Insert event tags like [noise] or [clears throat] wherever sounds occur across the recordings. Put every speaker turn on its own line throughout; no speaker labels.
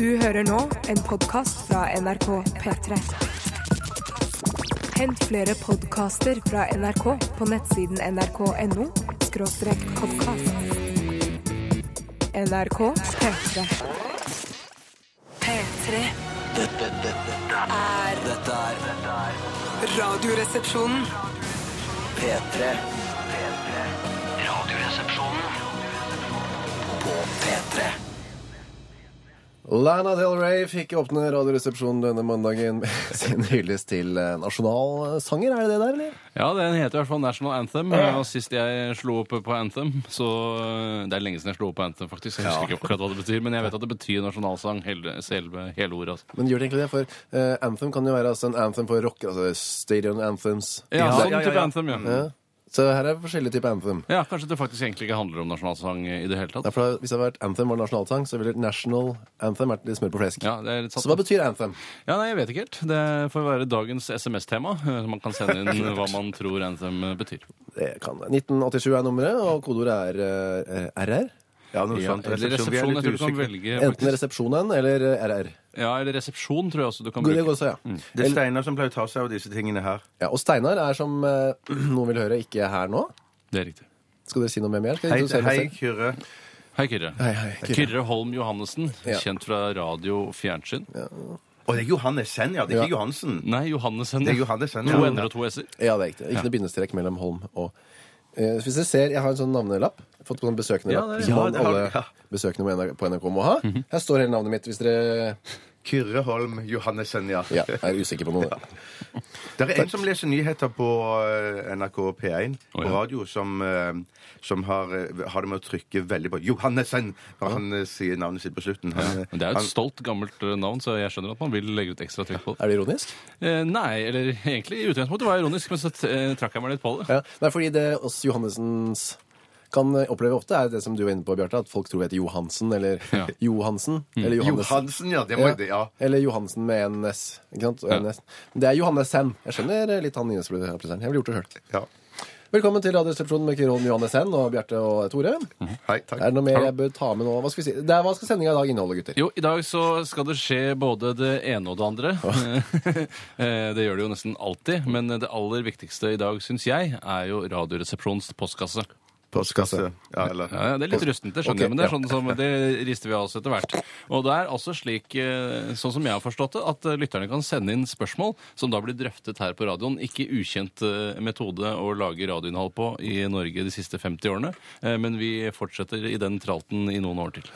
Du hører nå en podkast fra NRK P3. Hent flere podkaster fra NRK på nettsiden nrk.no podkast. NRK P3. P3
Dette, dette,
er
dette er dette er
Radioresepsjonen.
P3. P3. Radioresepsjonen på P3.
Lana Del Rey fikk åpne Radioresepsjonen denne mandagen med [laughs] sin hyllest til eh, nasjonalsanger. Er det det der, eller?
Ja, den heter i hvert fall National Anthem. Og sist jeg slo opp på Anthem så eh, Det er lenge siden jeg slo opp på Anthem, faktisk. Jeg husker ikke akkurat hva det betyr, men jeg vet at det betyr nasjonalsang, hele, selve, hele ordet. altså.
Men gjør det egentlig det? For eh, anthem kan jo være altså, en anthem for rock. Altså stadion anthems.
Ja,
Så-
sånn type Anthem, ja.
Ja. Så her er forskjellige typer anthem.
Ja, Kanskje det faktisk egentlig ikke handler om nasjonalsang i det hele
Ja,
tatt.
for da, hvis det hadde vært anthem var nasjonalsang, så ville national anthem vært litt smør på flesk.
Ja, det er litt
Så hva
satt.
betyr anthem?
ja, nei, Jeg vet ikke helt. Det får være dagens SMS-tema. eh, Man kan sende inn hva man tror Anthem eh, betyr.
Det kan 1987 er nummeret, og kodeordet er eh, RR.
Ja, noe
Ja,
sånt.
eller
Resepsjon, vi er
resepsjon. Jeg
litt
tror du kan
usikre.
velge
Enten
faktisk.
resepsjonen eller eh, RR.
Ja, eller resepsjon tror jeg også du kan
Det går
bruke.
også, ja.
Mm.
Det er Steinar som pleier å ta seg av disse tingene her.
ja. Og Steinar er, som eh, [clears throat] noen vil høre, ikke her nå.
Det er riktig.
Skal dere si noe mer? mer? Skal
Hei,
dere introdusere
hei
dere selv?
Kyrre.
Hei, Kyrre.
Hei, hei, Kyrre.
Kyrre Holm Johannessen,
Ja.
kjent fra radio og fjernsyn.
Å, det er Johannessen, ja. Det er ikke Johansen.
Nei, Johannessen.
Det er Johannessen,
To
ja.
n-er og to s-er.
Ja, det er riktig. Ikke noe bindestrek mellom Holm og Eh, Hvis dere ser, Jeg har en sånn navnelapp. Jeg har Fått på sånn besøkende
Ja,
lapp.
det er-
Ja,
som man-
det har du,
alle
ja. Mhm.
besøkende på NRK- på NRK må ha. Her står hele navnet mitt hvis dere
Kyrre Holm Johannessen, ja. [laughs]
ja, er usikre på noe.
Det er en som leser nyheter på eh, NRK P1 på
Å, ja.
radio, som, eh, som har, eh, har det med å trykke veldig på Johannessen når han eh, sier navnet sitt på slutten. Han,
Men det er jo
han-
et stolt, gammelt eh, navn, så jeg skjønner at man vil legge ut ekstra trykk på det.
Er det ironisk?
Eh, nei, eller egentlig i utgangspunktet var jeg ironisk, men så eh, trakk jeg meg litt på det.
Ja. Nei, fordi det oss Johannessens kan oppleve ofte, er det som du var inne på, Bjarte, at folk tror vi heter Johansen eller
Ja.
Johansen.
Mm.
Eller Johannessen.
Johansen, ja. Det må
Ja.
jeg det, ja.
Eller Johansen med en S. Ikke sant? Og en
Ja.
S. Men Det er Johannessen. Jeg skjønner litt han innespilleren. Jeg ville gjort det sjøl.
ja.
Velkommen til Radioresepsjonen med Kyrre Holm Johannessen og Bjarte og Tore.
Mhm.
Hei, takk.
Er det noe mer
Hallo.
jeg bør ta med nå? Hva skal, vi si? det er, hva skal sendinga i dag inneholde, gutter?
Jo, i dag så skal det skje både det ene og det andre. [laughs] Eh, det gjør det jo nesten alltid, men det aller viktigste i dag, syns jeg, er jo Radioresepsjonens postkasse.
Postkasse.
Ja, eller...
Ja, ja, det er litt rustent, det skjønner
Ok,
jeg, men det
ja.
er sånn som, det rister vi av oss etter hvert. Og det er altså slik, eh, sånn som jeg har forstått det, at eh, lytterne kan sende inn spørsmål som da blir drøftet her på radioen. Ikke ukjent eh, metode å lage radioinnhold på i Norge de siste 50 årene, eh, men vi fortsetter i den tralten i noen år til.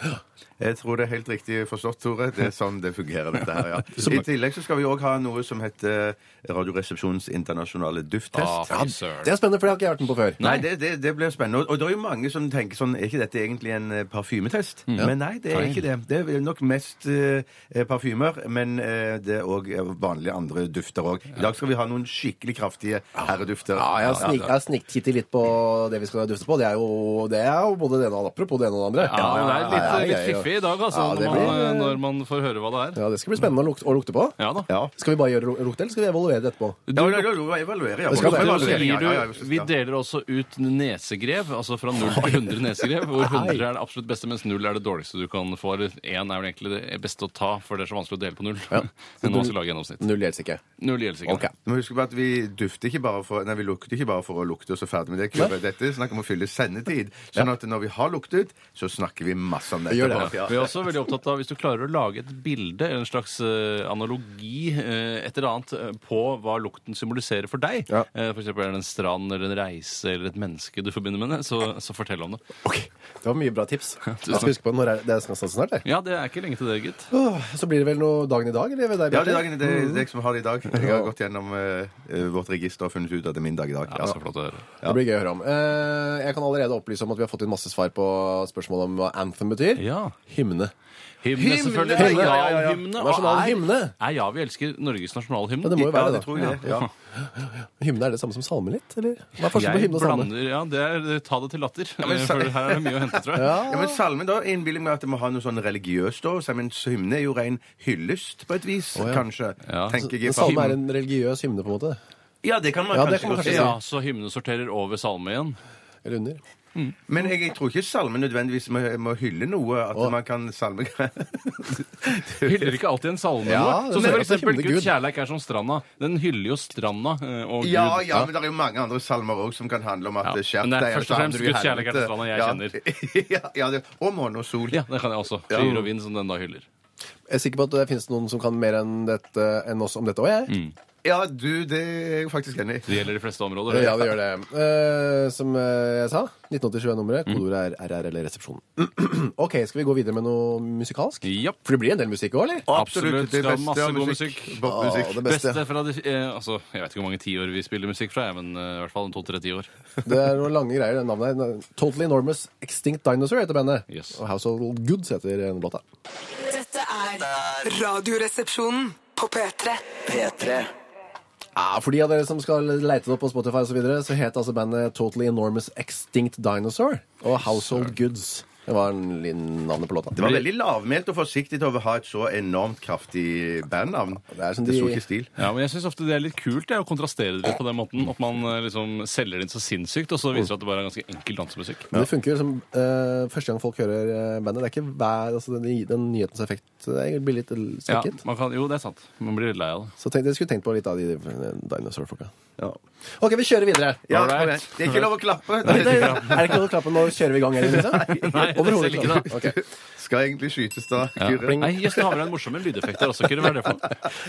Jeg tror det er helt riktig forstått, Tore. Det er sånn det fungerer, dette her, ja. I tillegg så skal vi òg ha noe som heter Radioresepsjonens internasjonale dufttest.
Ah, fy søren.
Det er spennende, for det har ikke jeg vært med på før.
Nei, det, det, det blir spennende. Og det er jo mange som tenker sånn Er ikke dette egentlig en eh, parfymetest? Men nei, det er ikke det. Det er nok mest eh, parfymer, men eh, det er òg vanlige andre dufter òg. I dag skal vi ha noen skikkelig kraftige herredufter.
Ah, Ja, jeg har, snik, jeg har sniktittet litt på det vi skal dufte på. Det er jo, det er jo både det ene og det andre. Apropos det ene og det andre.
Ja, men det er
ja,
litt,
ja,
litt
ja.
fiffig i dag, altså,
Ja, det
når, man, eh,
blir-
når man får høre hva det er.
Ja, Det skal bli spennende å lukte, å lukte på.
Ja da.
Ja.
Skal vi bare gjøre lukte, eller skal vi evaluere det etterpå?
Ja, ja, ja, ja, evaluere, ja.
Det skal være evaluering,
Og så altså, gir
Ja, ja, ja,
du, vi deler også ut nesegrev, altså fra 0 til 100 nesegrev, [laughs] hvor 100 er det absolutt beste, mens 0 er det dårligste du kan få. Eller 1 er vel egentlig det beste å ta, for det er så vanskelig å dele på 0. [laughs] Men nå skal vi lage gjennomsnitt.
Null gjelder ikke.
0 gjelder sikkert.
Ok.
Du må huske på at vi dufter ikke bare for, nei, vi lukter ikke bare for å lukte og så ferdig med det. Kyrre. Dette er snakk om å fylle sendetid. Sånn at når vi har luktet, så snakker vi masse om dette.
Gjør det,
Bare-
Ja. Vi er også veldig opptatt av hvis du klarer å lage et bilde, en slags eh, analogi, eh, et eller annet, eh, på hva lukten symboliserer for deg.
Ja.
Eh, for eksempel er det en strand eller en reise eller et menneske du forbinder med det, så, så fortell om det.
Det var mye bra tips. Jeg
tusen takk.
skal huske på når er, det er snart, snart det.
Ja, det er ikke lenge til det, gitt.
Åh, Så blir det vel noe dagen i dag, eller ved deg,
Ja, det er
Bjarte?
dagen, det er det er jeg som har det i dag. Jeg har gått gjennom eh, eh, vårt register og funnet ut at det er min dag i dag.
Ja, så flott å høre.
Det blir gøy å høre om. Eh, Jeg kan allerede opplyse om at vi har fått inn masse svar på spørsmål om hva anthem betyr.
Ja.
Hymne.
Hymne, selvfølgelig.
Hymne,
ja, ja,
ja.
Nasjonalhymne. og
Nasjonal
er-
hymne.
Nei, ja, vi elsker Norges nasjonalhymne.
Ja, det må jo
Ja,
være
det
det,
tror jeg. det, Ja.
da. Hymne er det samme som salme litt, eller? Hva er forskjellen på hymne og salme?
blander, ja, det er ta det til latter.
men-
[laughs] for her er det mye å hente,
[laughs]
tror jeg.
Ja, men salmen da innbiller meg at det må ha noe sånn religiøst da. Så, men hymne er jo ren hyllest på et vis,
ja.
kanskje.
Ja.
Tenker jeg.
Men salme er en religiøs hymne, på en måte.
Ja, det kan man
Ja, det
kanskje
kan man
godt
kanskje
si.
si.
Ja.
[laughs]
Ja, så hymne sorterer over salme igjen.
Eller under.
Men jeg, jeg tror ikke salme nødvendigvis må, må hylle noe. At man kan salme
Hyller ikke alltid en salme
Ja,
noe?
men
Sånn som for
også
eksempel
hyller
Gud
Gud.
kjærleik er som stranda. Den hyller jo stranda eh, og Gud.
Ja, ja, men det er jo mange andre salmer òg som kan handle om at
Ja,
det skjerp
men det er
deg, eller
først og
så
fremst
havner du i
Guds kjærlighet er
helvete.
det stranda jeg
[laughs] ja, ja, det, og måne og sol.
Ja, det kan jeg også.
Ja.
Fyr og vind som den da hyller.
Jeg er sikker på at det finnes noen som kan mer enn, dette, enn oss om dette òg, jeg.
Ja, du, det er jeg faktisk enig i.
Det gjelder de fleste områder.
Ja, det gjør det. Eh, som eh, jeg sa, 1987 er nummeret. Kodeordet er RR eller Resepsjonen. [clears throat] OK, skal vi gå videre med noe musikalsk?
Japp.
For det blir en del musikk òg, eller?
Absolutt.
det
Skal ha
beste
masse
av
god musikk.
Popmusikk.
Ja, det
Beste.
Beste.
fra de eh, Altså, jeg vet ikke hvor mange tiår vi spiller musikk fra, jeg, men eh, i hvert fall en to-tre tiår.
Det er noen lange greier, det navnet her. Totally Enormous Extinct Dinosaur heter bandet.
Yes.
Og Household Goods heter denne låta.
Dette er Radioresepsjonen på P3.
P3.
Ja, for de av dere som skal leite det opp på Spotify osv., så, videre, så het altså bandet Totally Enormous Extinct Dinosaur og Household Goods. Det var en liten navn på låta.
Det var veldig lavmælt og forsiktig til å ha et så enormt kraftig bandnavn.
Det er som de-
sto ikke i stil.
Ja, men jeg syns ofte det er litt kult det, å kontrastere det litt på den måten. At man eh, liksom selger det inn så sinnssykt, og så viser det at det bare er ganske enkel dansemusikk.
Men det funker jo som eh, første gang folk hører eh, bandet. Det er ikke hver, altså, den, den nyhetens effekt eh, blir litt
Ja,
svekket.
man kan, jo, det er sant. Man blir litt lei av det.
Så tenkte, jeg skulle tenkt på litt av de eh, dinosaur-folka. OK, vi kjører videre.
Ja,
Alright.
kom igjen. det er ikke lov å klappe.
Nei, det, er det ikke noe å klappe nå? Kjører vi i gang, eller? Liksom?
Nei,
Overhodet
selv ikke
[laughs]
ikke. Ok.
Skal egentlig skytes da.
Ja.
Kyrre.
Nei, Jøss, nå har vi da en morsomme lydeffekt der også, Kyrre. Hva er det for noe?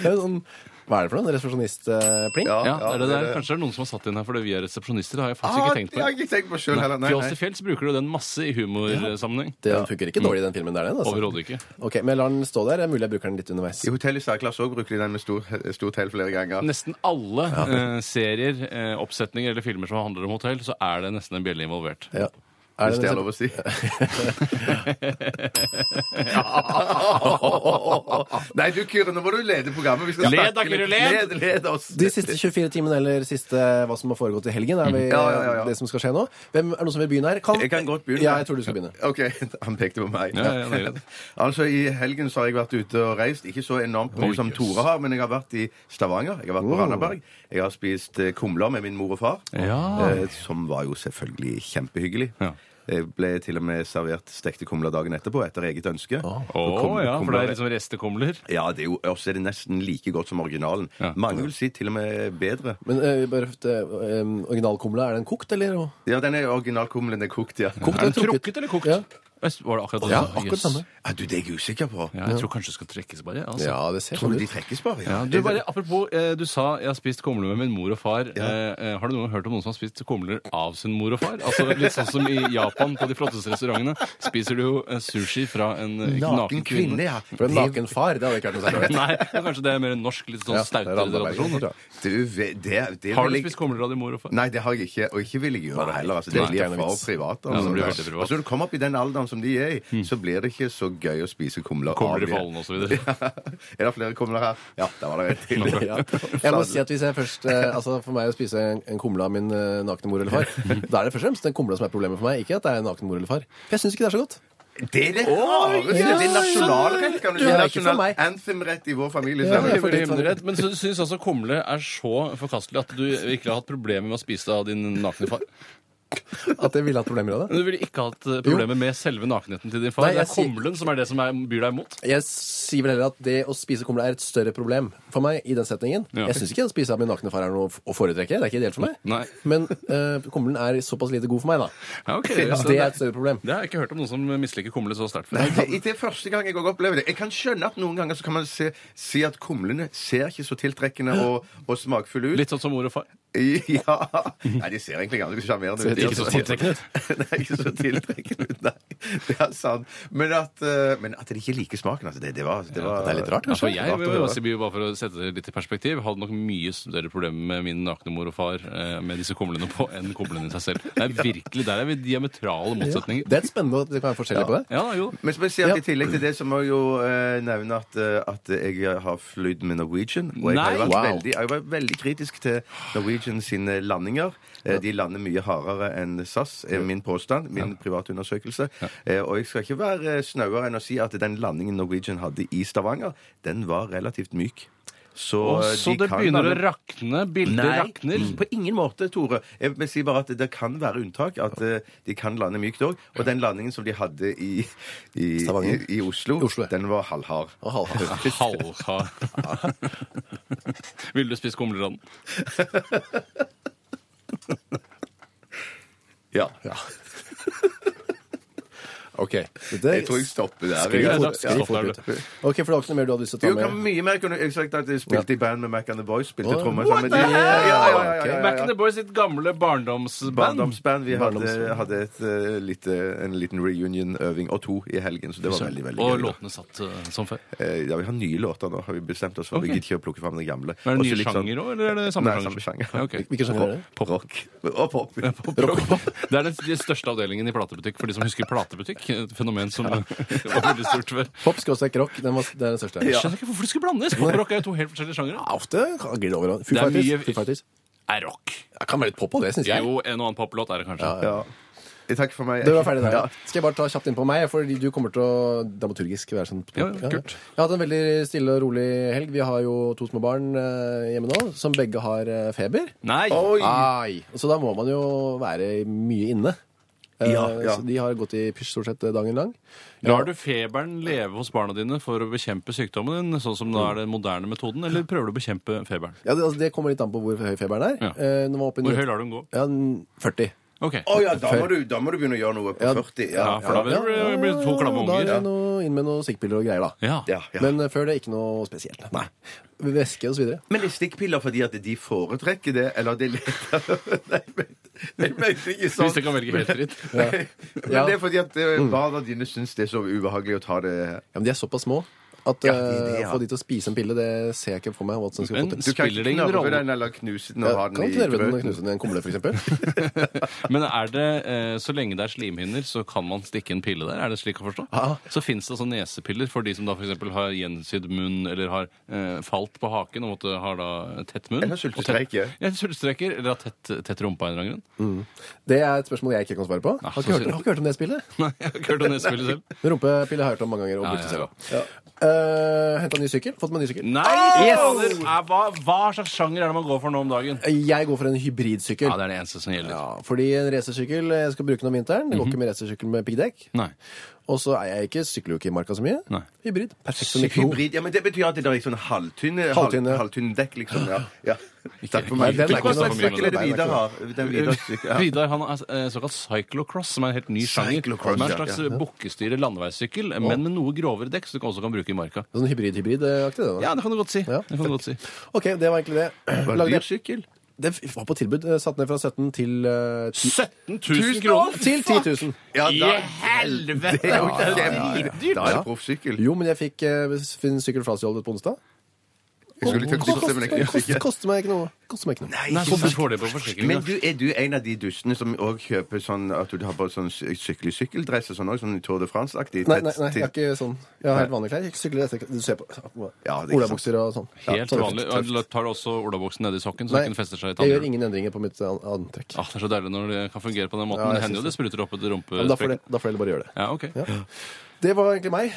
Det er sånn, hva er det for noe? eh, Resepsjonist-pling?
Ja,
Ja, det er det der.
det.
Kanskje det er noen som har satt inn her fordi vi er resepsjonister. Det har jeg
Ah,
faktisk ikke tenkt
det har
på.
jeg ikke tenkt på sjøl heller. Nei,
Fjols
nei.
til fjells bruker du den masse i humorsammenheng.
Det funker ikke dårlig i den filmen der, den. Altså.
Overhodet ikke.
Ok, men jeg lar den stå der. Det er mulig jeg bruker den litt underveis.
I Hotell i Særklasse òg bruker de den med stor, stort hell flere ganger.
Nesten alle eh, serier, eh, oppsetninger eller filmer som handler om hotell, så er det nesten en bjelle involvert.
Ja.
Hvis det er lov å si. [laughs] Nei, du Kyrre, nå må du lede programmet. Vi skal
Led da,
snakke litt.
Kyrre, led!
Led, led oss.
De siste 24 timene, eller siste hva som har foregått i helgen, er vi,
Mm. Ja, ja, ja, ja.
det som skal skje nå. Hvem, er det noen som vil begynne her? Kan...
Jeg kan godt begynne.
Ja, jeg tror du skal begynne.
OK, [laughs] han pekte på meg.
Ja, ja, det er greit.
[laughs] altså, I helgen så har jeg vært ute og reist. Ikke så enormt mye
Oi,
som
jøss.
Tore har, men jeg har vært i Stavanger. Jeg har vært på Randaberg. Jeg har spist eh, kumler med min mor og far,
Ja.
eh, som var jo selvfølgelig kjempehyggelig.
Ja.
Jeg ble til og med servert stekte kumler dagen etterpå, etter eget ønske.
Å
Og kum-
ja, for det
kumler-
er liksom restekumler.
ja, det er jo, også er det nesten like godt som originalen.
Ja.
Mange vil si til og med bedre.
Men eh, bare, eh, originalkumla, er den kokt, eller?
Ja, den er originalkumlen er kokt, ja.
Kokt
Er
eller
den trukket eller kokt?
Ja,
Øst, Var det akkurat det?
ja
du sa?
akkurat
Jøss.
samme.
Ja, du, det er jeg usikker på.
Ja, jeg tror kanskje det skal trekkes bare. jeg, Altså.
Ja, det ser
Tror
sånn
du de
ut.
trekkes bare?
Ja, du, bare, apropos, eh, du sa 'jeg har spist kumler med min mor og far'. Eh, eh, har du noen gang hørt om noen som har spist kumler av sin mor og far? Altså Litt sånn som i Japan, på de flotteste restaurantene, spiser du jo eh, sushi fra en eh,
Naken kvinne, ja.
For en naken far, det hadde ikke vært noe særlig.
Nei, men kanskje det er mer en norsk, litt sånn
Ja, det er
stautere
Randaberg.
tradisjon. da.
Du, det, det, det
Har
vil
du
jeg-
spist kumler av din mor og far?
Nei, det har jeg ikke. Og ikke vil jeg gjøre det heller. Altså, det
Nei.
blir
Gjerne
for
vits.
privat.
Ja, det blir
Og-
veldig privat. Mm.
Og så når du kommer opp i den alderen som de er i, så blir det ikke så gøy å spise kumler.
Kumler
av
i
de.
folden og så
[laughs]
videre.
er det flere kumler her? Ja, der var det rett til.
[laughs] Ja. Jeg må si at hvis jeg først eh, Altså For meg å spise en, en kumle av min eh, nakne mor eller far, da er det først og fremst den kumla som er problemet for meg, ikke at det er naken mor eller far. For jeg syns ikke det er så godt.
Det er det rareste!
ja,
det er nasjonalrett, kan du si.
Det er ikke for
Nasjonal
meg.
anthem-rett i vår familie.
Ja,
så-
jeg får litt
Veldig
sånn-
himmelrett, Men så du syns altså kumle er så forkastelig at du ikke har hatt problemer med å spise det av din nakne far?
At jeg ville hatt problemer av det.
Men du ville ikke hatt eh, problemer med selve nakenheten til din far?
Nei,
det
jeg
er
sier-
kumlen som er det som er, byr deg imot?
Jeg sier vel heller at det å spise kumle er et større problem for meg i den setningen.
Ja.
Jeg syns ikke å spise av min nakne far er noe f- å foretrekke. Det er ikke ideelt for meg.
Nei.
Men eh, kumlen er såpass lite god for meg, da.
Ja,
[laughs]
ok.
Så
Så
det er et større problem.
Det har jeg ikke hørt om noen som misliker kumle så sterkt. før.
Nei, det, det er første gang jeg også opplever det. Jeg kan skjønne at noen ganger så kan man se, si at kumlene ser ikke så tiltrekkende og, og smakfulle ut.
Litt sånn som mor og far.
Ja. Nei, de ser egentlig ganske sjarmerende ut.
Ser ikke så tiltrekkende
ut. [laughs] Nei, ikke så tiltrekkende ut, nei. Det er sant. Men at, eh, men at de ikke liker smaken, altså. Det, det, var, det, var,
det er litt rart,
Ja, for Altså,
Rart
jeg
å
vil jo
høre.
bare si, bare for å sette det litt i perspektiv, hadde nok mye større problemer med min nakne mor og far eh, med disse kumlene på enn kumlene i seg selv. Det er virkelig, Der er vi i diametrale motsetninger.
Det er et spennende at det kan være forskjellig på det.
Ja, jo.
Men som jeg sier, at
Ja.
i tillegg til det så må jeg jo eh, nevne at, eh, at jeg har flydd med Norwegian. Og jeg har jo
Nei!
vært,
Wow.
veldig, jeg har vært veldig kritisk til Norwegian sine landinger. Eh, de lander mye hardere enn SAS, er min påstand. Min private undersøkelse. Eh, og jeg skal ikke være eh, snauere enn å si at den landingen Norwegian hadde i Stavanger, den var relativt myk. Så,
Å, så
de
det
kan
begynner å
være-
rakne? Bildet rakner?
mm. på ingen måte, Tore. Jeg vil si bare at Det kan være unntak, at eh, de kan lande mykt òg. Og den landingen som de hadde i, i, i,
Stavanger.
i Oslo,
Oslo, ja.
den var halvhard.
Og halvhard.
Halvhard.
[laughs]
Ville du spist kumlerand?
Ja.
[laughs] OK. Dette
Jeg tror jeg stopper der. Jeg-
Skriv
Ja,
fort, skriv
stopp
fort
der,
ut.
du.
OK, for det var ikke noe mer du hadde lyst til
Jo,
å ta
kan
med?
mye mer kunne jeg sagt at jeg spilte i band med Mac and the Boys. Spilte
Åh,
trommer
what
sammen med
the
de. Ja, ja, ja, ja, ja, ja,
Back in the Boys sitt gamle barndomsband.
Barndomsband. Vi hadde,
Barndomsband.
hadde et, eh, lite, en liten reunion-øving, og to i helgen, så det var veldig veldig
Og
gøy. da.
låtene satt eh, som før.
Eh, Ja, Vi har nye låter nå, har vi bestemt oss for.
Ok.
Vi gidder ikke å plukke fram de gamle.
Er det
Også
nye
litt sånn-
sjanger òg, eller er det samme
Nei,
sjanger?
samme sjanger.
Ja, ok.
Hvilken sjanger er det?
Pop. Rock. Og
[laughs]
pop.
Det er den den største avdelingen i platebutikk for de som husker platebutikk. Et fenomen som [laughs] var veldig stort før.
Pop, skråstrek, rock. Den var, det er den største.
Jeg skjønner ikke hvorfor det skulle blandes. Poprock er jo to helt forskjellige sjangere.
Ja, ofte glir det over. hverandre. Foo
Det er
Fighters.
mye-
Foo Fighters.
Er rock.
Jeg kan være litt pop på det, syns jeg.
Jo, en og annen poplåt er det kanskje.
Ja. Takk for meg.
Du var ferdig der.
Ja.
Skal jeg bare ta kjapt inn på meg? Fordi du kommer til å dramaturgisk være sånn
Ja, ja, kult.
Jeg har hatt en veldig stille og rolig helg. Vi har jo to små barn eh, hjemme nå, som begge har eh, feber.
Nei!
Oi!
Ai. Så da må man jo være mye inne. Eh,
Ja, ja.
Så de har gått i pysj stort sett eh, dagen lang.
Lar du feberen leve hos barna dine for å bekjempe sykdommen din, sånn som da er den moderne metoden, eller prøver du å bekjempe feberen?
Ja, det, altså, det kommer litt an på hvor høy feberen er.
Ja.
Eh, når man er oppe i
Hvor høy lar du den gå?
Ja, n- 40.
Ok.
Å ja, da må, du, da må du begynne å gjøre noe på
Ja.
40.
Ja, for da vil det bli to klamme
Da er
unger.
det noe, inn med noen stikkpiller og greier, da.
Ja.
Ja, ja.
Men eh, før det ikke noe spesielt. Nei. Væske og så videre.
Men er stikkpiller fordi at de foretrekker det, eller det er lettere [laughs] Nei, men jeg mente ikke sånn.
Hvis det kan velge helt fritt.
Nei, [laughs] Men
Ja. Mm.
det er fordi at eh, barna dine syns det er så ubehagelig å ta det
Ja, men de er såpass små at
Ja, de-
eh,
de, ja.
Å få de til å spise en pille, det ser jeg ikke for meg. Hva som skal
Men
få til.
Du kan
Spiller
ikke
det ingen
knarre
rolle?
den eller knuse den og
Jeg
ha
kan
den i
knurre den og
brød.
knuse den i en kumle,
[laughs]
for eksempel.
Men er det, eh, så lenge det er slimhinner, så kan man stikke en pille der? Er det slik å forstå? Så fins det altså nesepiller for de som da f.eks. har gjensydd munn, eller har eh, falt på haken og måtte har da tett munn.
Eller sultestreker.
Og tett- Ja, sultestreker, eller har tett, tett rumpa av en eller annen grunn. [laughs]
Det er et spørsmål jeg ikke kan svare på.
Ah,
Har ikke hørt,
så-
har ikke hørt om det spillet.
Nei, jeg har ikke hørt om nesepiller selv.
Men Rumpepille har jeg hørt om mange ganger. og
Ja,
brukt det
ja, ja.
selv også. Eh, Henta ny sykkel. Fått meg ny sykkel.
Nei! fader! Er, hva, hva slags sjanger er det man går for nå om dagen?
Jeg går for en hybridsykkel.
Ja, det er det eneste som gjelder.
Ja, fordi en racersykkel eh, jeg skal bruke den om vinteren. Det går ikke med racersykkel med piggdekk.
Nei.
Og så er jeg ikke, sykler jo ikke i marka så mye.
Nei.
Hybrid. Perfekt som mikro.
Hybrid, ja, men Det betyr at det er sånn halvtynne,
Halvtynne,
halvtynne.
ja.
dekk, liksom. ja. ja. Takk for
Nei,
meg.
den er
Hva
ikke noe
slags
for meg,
sykkel er det
men-
Vidar har? Den Vidar sykkel, ja.
Vidar han er eh, såkalt cyclocross, som er en helt ny sjanger.
Cyclocross,
Som er en
ja,
slags eh, bukkestyre landeveissykkel, men med noe grovere dekk, så du også kan bruke i marka.
Sånn hybrid-hybrid-aktig, det. da.
Ja, det kan du godt si.
Ja.
Det kan du godt si.
OK, det var egentlig det. [clears throat]
Var det
Lagde-
dyr sykkel?
det var på tilbud. eh, Satt ned fra 17 til eh, 10
17
Tusen
000
kroner!
kroner!
Til 10 000.
Ja,
I
da-
helvete!
Det er jo
Det er
kjempedyrt. Da er det proffsykkel.
Jo, men jeg fikk eh, en sykkel frastjålet på onsdag.
Jeg skulle til å
Det
kysse, men jeg kunne ikke.
koster, koster meg ikke noe. Koster meg ikke noe.
Nei, hvorfor får det på forsikring?
Men
da?
du, er du en av de dustene som òg kjøper sånn at du har på sånn sy- skikkelig sykkeldress og sånn òg? Sånn Tour de France-aktig?
Nei, nei,
tett-
nei, jeg har
tett-
ikke sånn. Jeg har helt vanlige klær. Jeg sykler etter Du ser på
Ja, det er ikke sant.
olabukser og sånn.
Helt
sånn.
vanlig.
Tøft.
Eller Tar du også olabuksen nedi sokken, så
Nei,
den ikke fester seg i
jeg gjør
tannhjulet?
ingen endringer på mitt an- antrekk.
Ah, det er så deilig når det kan fungere på den måten.
Ja, jeg
det hender jo
synes
det spruter opp et
Men da får
rumpespekk.
det- da får dere bare gjøre det.
Ja, ok. Ja.
Det var egentlig meg.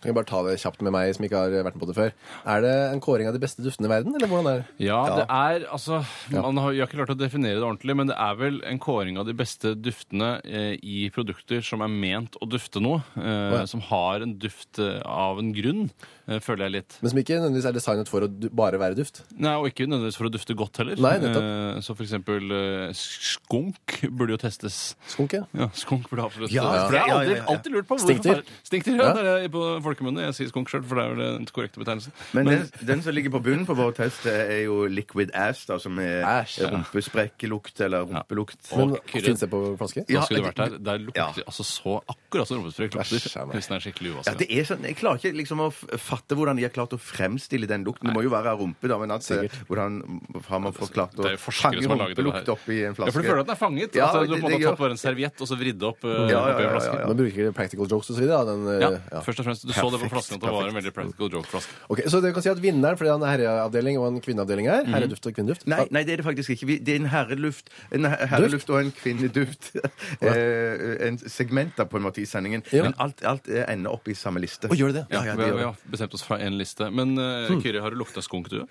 Kan vi bare ta det kjapt med meg som ikke har vært med på det før. Er det en kåring av de beste duftene i verden, eller hvordan er det?
Ja, det er altså man har, Jeg har ikke klart å definere det ordentlig, men det er vel en kåring av de beste duftene eh, i produkter som er ment å dufte noe. Eh,
ja.
Som har en duft eh, av en grunn, eh, føler jeg litt.
Men som ikke nødvendigvis er designet for å du bare være duft.
Nei, Og ikke nødvendigvis for å dufte godt heller.
Nei, nettopp.
Eh, Så for eksempel eh, skunk burde jo testes.
Skunk, ja.
Ja, skunk burde absolutt
Ja,
For
ja,
jeg har
ja,
aldri,
ja, ja.
alltid lurt på hvorfor
Stinkdyr.
faen- Stinkdyr, ja. Det er på folkemunne. Jeg sier skunk sjøl, for det er vel den korrekte betegnelsen.
Men den, den som ligger på bunnen på vår test, det er jo liquid ass, da, som er
Æsj, ja.
rumpesprekklukt eller rumpelukt.
Men
Og krydder.
fins det på flaske?
Da
Ja,
skulle du vært der. Der lukter
ja.
det altså så akkurat som rumpesprøyt lukter.
Æsj, ja, nei.
Hvis den er skikkelig
Ja,
uvaska.
det er sånn, Jeg klarer ikke liksom å f- fatte hvordan de har klart å fremstille den lukten. Det må jo være av rumpe, da, men at, eh,
Sikkert.
hvordan har man fått klart å
Det er jo forskere som har laget det her.
rumpelukt oppi en flaske?
Ja, for du føler at den er fanget?
Ja,
altså,
det-
du har på en
det
måte
gjør-
tatt bare en serviett og så vridd opp
Ja,
eh,
ja, ja,
oppi en
ja,
flasken.
Man bruker practical jokes og så videre. da, Den, eh,
Ja,
ja.
først og fremst. Du så det på
Perfekt,
flasken at det var en veldig practical joke-flaske.
Ok, Så dere kan si at vinneren, fordi han er herreavdeling og en kvinneavdeling her,
Mhm.
herreduft og kvinneduft [laughs]
Nei, nei, det er det faktisk ikke. Vi- Det er en herreluft, en her- herreluft og en kvinneduft. [laughs] Eh, en segmenter, på en måte, i sendingen.
Ja.
Men alt, alt eh, ender opp i samme liste.
Å, gjør det Hmm. det?
Ja, ja,
vi,
det
har,
gjør
vi
det.
har bestemt oss fra én liste. Men eh, Kyrre, har du lukta skunk, du?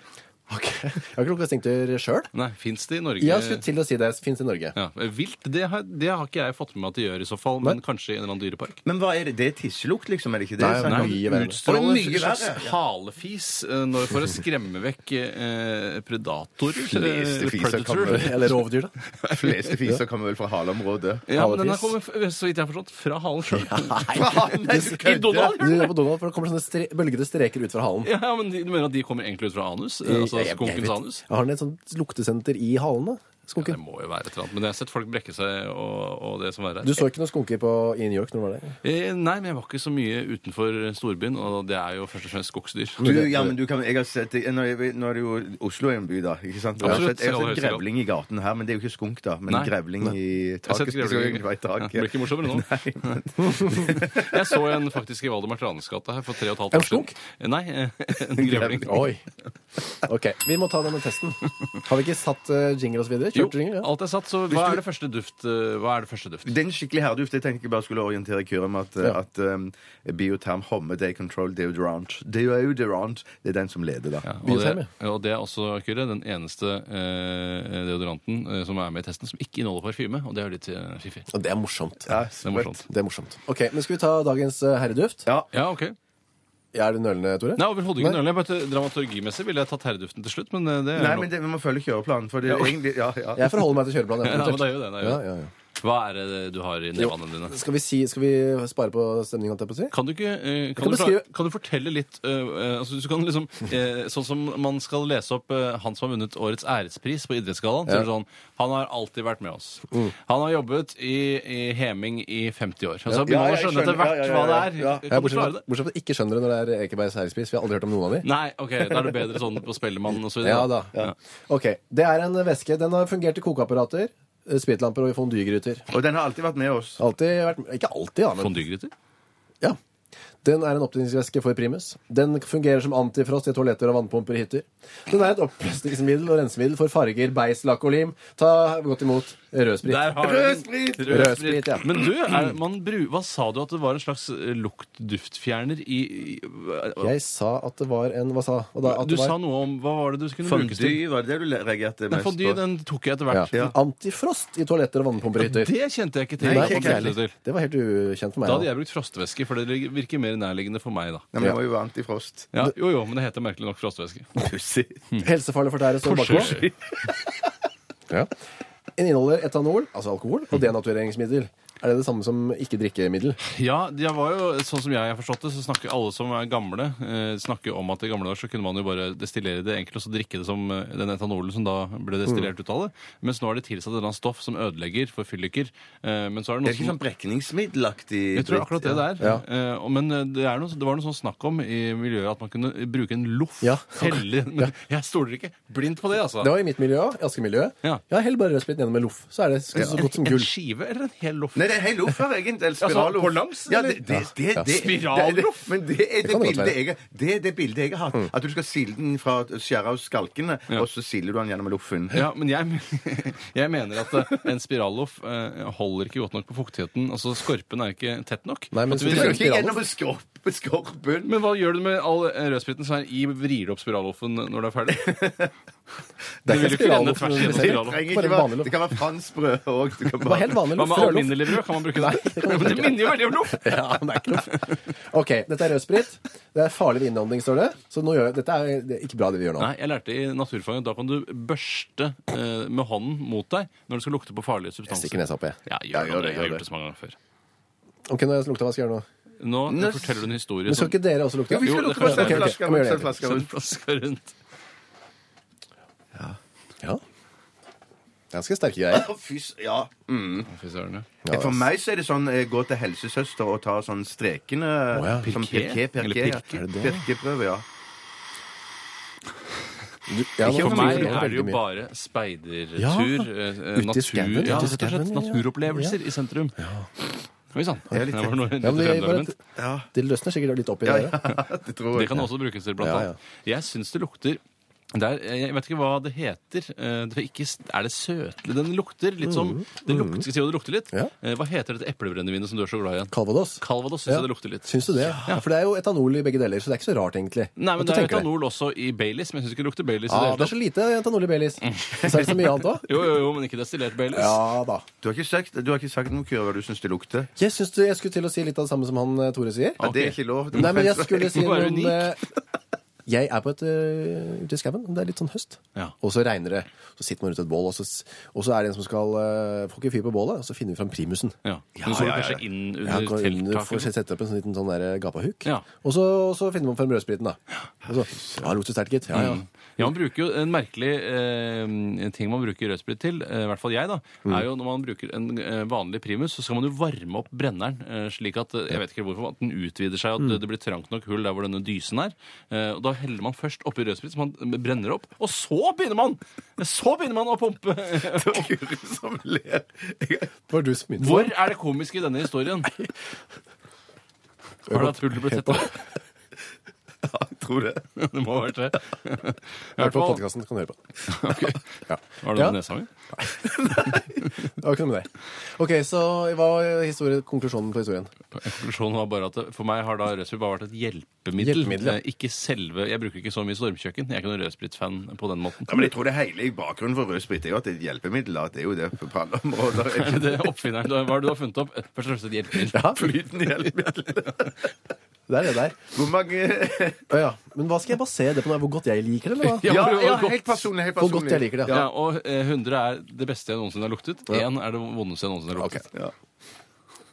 Jeg har ikke lukket stinkdyr sjøl.
Nei, fins det i Norge?
Jeg skulle til å si det. Fins i Norge.
Ja, eh, Vilt, det har, det har ikke jeg fått med meg at de gjør i så fall, men kanskje i en eller annen dyrepark.
Men hva er det? Det er tisselukt, liksom? Er det ikke det?
Nei,
Sånn-
nei. Mye verre.
Oi,
Utstråler
mye
en slags
verre.
halefis eh, når for å skremme vekk eh, predatorer.
Fleste
eh,
fiser
predator.
kommer.
[laughs] Eller rovdyr, da.
De fleste fiser kommer vel fra haleområdet.
Ja, men den her
Halefis.
kommer, f- så vidt jeg har forstått, fra halen sjøl. [laughs]
Nei, du kødder.
[laughs] I Donald?
Du gjør på Donald, for det kommer sånne stre bølgede streker ut fra halen.
Ja, men de- Du mener at de kommer egentlig ut fra anus? eh, Altså
Jeg- jeg- jeg
skunkens
vet-
anus?
Har den et sånt luktesenter i halen, da?
Det
Skunken?
må jo være et eller annet. Men jeg har sett folk brekke seg og, og det som verre
Du
er.
så ikke noen skunker på, i New York når du var der?
Eh, Nei, men jeg var ikke så mye utenfor storbyen, og det er jo først og fremst skogsdyr.
Du, ja, men du kan, jeg har sett, nå, er vi- nå er det jo Oslo er en by, da. ikke sant? Jeg har
Absolutt.
sett, jeg har
Ja, det
sett
er helt
grevling i gaten her, men det er jo ikke skunk, da. Men
Nei.
grevling i
Jeg har
taket.
sett grevling.
Det
Ja, [laughs] det blir ikke
[laughs]
morsommere nå. [laughs] Jeg så en faktisk i Valdemar Tranes gate her for tre og et halvt
En
år siden.
skunk?
Nei, eh, [laughs] en grevling.
Oi. OK, vi må ta denne testen. Har vi ikke satt eh, jingle og så videre?
Jo,
Kjørte jingle? Ja.
alt er satt, så hva er det første duft? eh, Hva er det første duft?
Det er en skikkelig herreduft. Jeg tenkte jeg bare skulle orientere Kyrre om at,
Ja.
at um, Bioterm Homme Day Control Deodorant Deodorant, det er den som leder, da.
Ja, og,
Bioterm,
det, og det er også, Kyrre, den eneste eh, deodoranten eh, som er med i testen som ikke inneholder parfyme, og det er jo litt eh, fiffig.
Og det er morsomt.
Ja,
Det er morsomt.
Det er morsomt. OK, men skal vi ta dagens eh, herreduft?
Ja.
Ja, ok.
Er du nølende, Tore?
Nei, overhodet ikke
Nei.
nølende. Jeg bare- Dramaturgimessig ville jeg tatt herreduften til slutt, men eh, det er
Nei,
jo
men
[laughs] lov.
det, vi må følge kjøreplanen, for det er jo egentlig Ja, ja.
Jeg forholder meg til kjøreplanen. jeg,
[laughs] Ja, men
eventuelt.
det er jo det, det er jo
Ja,
det.
ja, ja.
Hva er det du har i nevene dine?
Skal vi, si, skal vi spare på stemninga, holdt jeg på å si?
Kan du ikke eh,
kan
kan, du fra,
beskrive-
kan du fortelle litt eh, eh, altså, du kan liksom, eh, Sånn som man skal lese opp eh, han som har vunnet årets ærespris på Idrettsgallaen. så er det Sånn, han har alltid vært med oss. Han har jobbet i, i Heming i 50 år. Altså, Og så
Ja,
begynner
jeg
man å skjønne etter
skjønner. Ja,
hvert
ja,
hva det
ja,
er.
ja.
Kan
Ja,
du
bortsett,
klare
fra,
det?
bortsett fra at ikke skjønner det når det er Ekebergs herrespris. Vi har aldri hørt om noen av de.
Nei, OK. Da er det bedre sånn på Spellemann og så videre.
Ja da.
Ja.
Ok, Det er en væske. Den har fungert i kokeapparater, eh, spritlamper og i fondygryter.
Og den har alltid vært med oss.
Alltid vært Ikke alltid, da, men
Fondygryter?
ja. Den er en opptenningsvæske for primus. Den fungerer som antifrost i toaletter og vannpumper i hytter. Den er et oppløsningsmiddel og rensemiddel for farger, beis, lakk og lim. Ta godt imot rødsprit.
Der har du den.
Rødsprit!
Rødsprit, ja.
Men du, er, man bru, hva sa du at det var en slags eh, luktduftfjerner i, i
Jeg sa at det var en Hva sa hva da, at
Du
det var,
sa noe om Hva var det du skulle brukes til?
Fondy, var det det du reagerte
Nei,
mest på?
Fondy den tok jeg etter hvert.
ja. Antifrost i toaletter og vannpumper i hytter.
Det kjente jeg ikke til.
Nei,
Hva
ikke
brukte
heller.
du til?
Det var helt ukjent for meg.
Da hadde
da.
jeg brukt frostvæske, for det virker mer nærliggende for meg da.
Nei, men det var jo antifrost.
Ja, jo, jo, men det heter merkelig nok frostvæske.
Pussig.
Helsefarlig for tæret står bakpå. Ja. Den inneholder etanol, altså alkohol, og denatureringsmiddel. Er det det samme som ikke-drikkemiddel?
Ja, det var jo, sånn som jeg har forstått det, så snakker alle som er gamle, eh, snakker om at i gamle dager så kunne man jo bare destillere det enkelt, og så drikke det som eh, den etanolen som da ble destillert
Mm.
ut av det. Mens nå er det tilsatt et eller annet stoff som ødelegger for fylliker. Eh, men så er det
Det er
noe
ikke sånn
som...
brekningsmiddelaktig
Jeg tror akkurat det det er.
Ja.
Eh, og- men eh, det, er noe, det var noe sånn snakk om i miljøet at man kunne bruke en loff.
Ja.
Helle, men jeg stoler ikke blindt på det, altså.
Det var i mitt miljø òg. I Askemiljøet.
Ja.
Ja, hell bare rødspriten gjennom en loff, så er det så, så godt som
En [laughs]
gull.
skive eller en hel loff?
Nei, det er hel loff her, egentlig. Eller spiralloff.
på langs,
Ja,
eller?
det, det, det, det, det,
Spiralloff?
Men det er det,
kan det godt
bildet
være.
jeg, det, er det bildet jeg har hatt. At du skal sile den fra skjære av skalkene, og så siler du den gjennom loffen.
Ja, men jeg, men- [laughs] jeg mener at eh, en spiralloff eh, holder ikke godt nok på fuktigheten. Altså, Skorpen er ikke tett nok.
Nei, men
At vi-
Du skal
spiralloff-
ikke gjennom en skorp- skorpen.
men hva gjør du med all eh, rødspriten som er i? Vrir du opp spiralloffen når det er
[laughs]
ferdig?
Det
Du vil jo ikke renne
spiralloff som
tvers gjennom
vi ser.
Det
spiralloff.
trenger
Bare
ikke
vanlig
være,
loff.
det kan være franskbrød òg.
Det var helt vanlig
Hva
loff.
med
Rødloff.
alminnelig brød? Kan man bruke det? [laughs]
kan man
Men det
ikke.
minner jo veldig om loff!
[laughs] Ja, men det er ikke loff. OK, dette er rødsprit. Det er farlig ved innånding, står det. Så nå gjør jeg, dette er det er ikke bra, det vi gjør nå.
Nei, jeg lærte i naturfaget at da kan du børste eh, med hånden mot deg når du skal lukte på farlige
Jeg
substanser.
stikker nesa opp, jeg.
Ja, gjør, det, Jeg har gjort det så mange ganger før.
OK, nå har jeg lukta. Hva skal jeg gjøre nå?
Nå
Nå-
forteller du en historie
Men skal
som
ikke dere også lukte?
Vi skal
sånn- Jo, det
lukke
kan
på
jeg
Ok, ok,
sølvflaska
kan
rundt,
vi gjøre det?
sølvflaska
Send
rundt.
flaska rundt.
Ja. Det er ganske sterke greier.
Å, fy s- Ja.
Fy søren, ja.
For meg så er det sånn eh, gå til helsesøster og ta sånn strekene
Å, ja.
som
Pirké?
pirké,
Eller
pirké, ja.
pirke?
Er det det?
Pirkeprøve, ja.
Du- ja, nå-
For
for mye,
meg er det jo
veldig mye.
bare speidertur.
Ja,
eh,
ute i
natur,
skauen,
ja,
ute i
rett og slett
skauen, ja.
naturopplevelser i sentrum. Oi sann. Det,
litt-
var noe-
ja, men det,
fremmed element.
bare, det løsner sikkert litt opp i
Ja,
dere.
ja, [laughs] det tror jeg.
det kan også brukes til blant
Ja,
annet. Jeg syns det lukter Det er, jeg vet ikke hva det heter. Eh, Det er, ikke, er det søtlig? Den lukter litt som Det lukter, skal jeg si hva det lukter litt?
Mm. Ja.
Eh, Hva heter dette epleprennevinet som du er så glad i? igjen?
Calvados.
Calvados syns jeg det lukter litt.
Syns du det? Ja. For det er jo etanol i begge deler, så det er ikke så rart, egentlig.
Nei,
At du
men Det er
tenker det.
etanol også i Baileys, men jeg syns ikke det lukter Baileys. i
Ja, det er
det hele tatt.
så lite etanol i
[laughs]
Baileys. Så er det så mye annet òg.
Jo, jo, jo, men ikke destillert Baileys.
Ja da.
Du har ikke sagt, du har ikke sagt noe, Kyrre, hva du syns det lukter.
Jeg syns jeg skulle til å si litt av det samme som han eh, Tore sier.
Ja, Det er
Ok.
ikke lov.
Nei, men jeg skulle si
Må
noe
være
om eh, Jeg er på et eh, ute i skauen. Det er litt sånn høst.
Ja.
Og så regner det. Så sitter man rundt et bål, og så, s- og så er det en som skal eh, Får ikke fyr på bålet, og så finner vi fram primusen.
Ja.
Ja,
Nå så du
ja, ja,
kanskje
ja.
inn
Ja,
under
går inn for å
telttaket.
sette opp en sånn liten sånn der gapahuk.
Ja.
Og, så, og så finner man frem rødspriten, da. Og så, ja, lukter sterkt, gitt. Ja, ja.
Mm. Ja, man bruker jo En merkelig eh, ting man bruker rødsprit til, eh, i hvert fall jeg, da, er jo når man bruker en eh, vanlig primus, så skal man jo varme opp brenneren eh, slik at eh, jeg vet ikke hvorfor, at den utvider seg, og at det- det blir trangt nok hull der hvor denne dysen er. Eh, og Da heller man først oppi rødsprit, så man brenner opp, og så begynner man! Så begynner man å pumpe!
Kyrre som ler.
Var du smitt?
Hvor er det komiske i denne historien? Har du hatt hullet blitt tettere?
Ja, jeg tror det.
[laughs] Det må ha vært det. I
Hør
hvert
på
fall
podkasten, kan du høre på den. Ja.
Var det
Ja.
noe i nesa mi?
Det var ikke noe med det. Ok, så hva var historie, konklusjonen på historien?
Konklusjonen var bare at det- for meg har da rødsprit bare vært et hjelpemiddel.
Hjelpemiddel, ja.
Eh, Ikke selve Jeg bruker ikke så mye stormkjøkken. Jeg er ikke noen rødspritfan på den måten.
Ja, men jeg tror det er hele bakgrunnen for rødsprit er jo at det er et hjelpemiddel. da. Det er jo det på alle områder.
[laughs] Det er oppfinneren, Hva er det du har funnet opp? Først og fremst et hjelpemiddel.
Flytende hjelpemiddel.
Det er det der.
Hvor mange
Å ja. Men hva skal jeg basere det på? nå? Hvor godt jeg liker det, eller hva?
[laughs] Ja,
Ja,
hvor-
ja,
hvor godt-
helt personlig. helt
Hvor
personlig.
godt jeg liker det.
Ja, og eh, 100 er det beste jeg noensinne har luktet. Én er det vondeste jeg noensinne har
Ok.
luktet.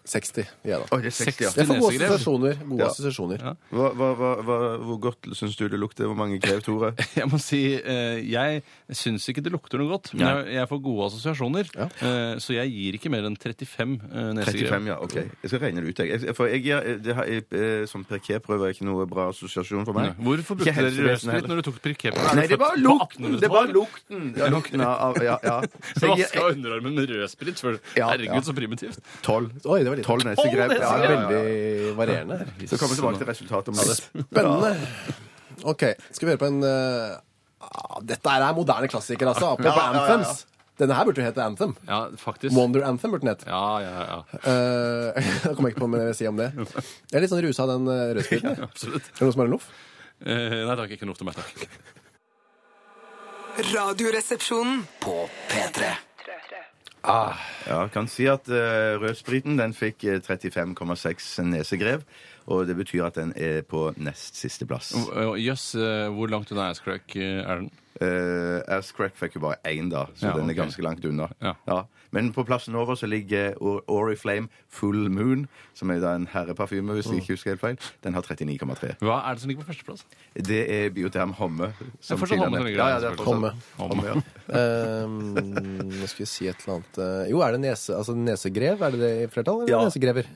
60. Ja, da.
Oi, det er 60, ja.
Jeg
Seksti.
får gode
Nesegrev.
assosiasjoner. Gode
Ja.
assosiasjoner.
Ja.
Hva, hva, hva, hva- hvor godt syns du det lukter? Hvor mange krev, Tore?
[laughs] Jeg må si, eh, jeg syns ikke det lukter noe godt, men jeg, jeg får gode assosiasjoner. eh, Så jeg gir ikke mer enn 35 eh, nesegrev.
35, ja. OK. Jeg skal regne det ut, jeg. jeg. For jeg, jeg, det har, jeg eh, som parkerprøve er ikke noe bra assosiasjon for meg.
Nei. Hvorfor brukte
Ikke
dere
helsevesenet
rødsprit
heller.
når du tok prikett?
Nei, det var lukten! Det var lukten! Ja, lukten av, ja,
[laughs]
ja. Så jeg
Vaska
gir
underarmen med rødsprit? før-
Ja, ja.
Herregud, så primitivt.
tolv.
Oi, det var litt
Tolv nesegrep. Ja, ja, ja, ja.
Veldig varierende. her.
Så kommer vi tilbake til resultatet. om litt.
Spennende. Ok, skal vi høre på en eh, ah, Dette her er moderne klassiker, altså. Apropos
Ja, ja, ja, ja.
anthems. Denne her burde jo hete Anthem.
Ja, faktisk.
Wonder Anthem burde den hete.
Ja, ja, ja.
Eh, [laughs] jeg kommer ikke på hva jeg vil si om det. Jeg er litt sånn rusa av den eh, rødspiten. jeg.
Absolutt.
Er det noen som har en loff?
Eh, nei takk, ikke noe til meg, takk.
Radioresepsjonen.
På P3.
Ja, jeg kan si at eh, rødspriten den fikk eh, 35,6 nesegrev, og det betyr at den er på nest siste plass.
Eh, Jøss, eh, hvor langt unna Ass Crack eh, er den?
Uh, Ass Crack fikk jo bare én, da, så
Ja,
den
ok.
er ganske langt unna.
Ja.
Men på plassen over så ligger Or- Oriflame Full Moon, som er da en herreparfyme, hvis jeg ikke husker helt feil. Den har 39,3.
Hva er det som ligger på førsteplass?
Det er Bioterm Homme.
Det er fortsatt Homme som ligger der,
ja, ja, det er fortsatt
Homme.
Homme, ja.
Ehm, Nå skal vi si et eller annet eh, Jo, er det nese, altså nesegrev? Er det det i flertall? Eller
Ja.
nesegrever?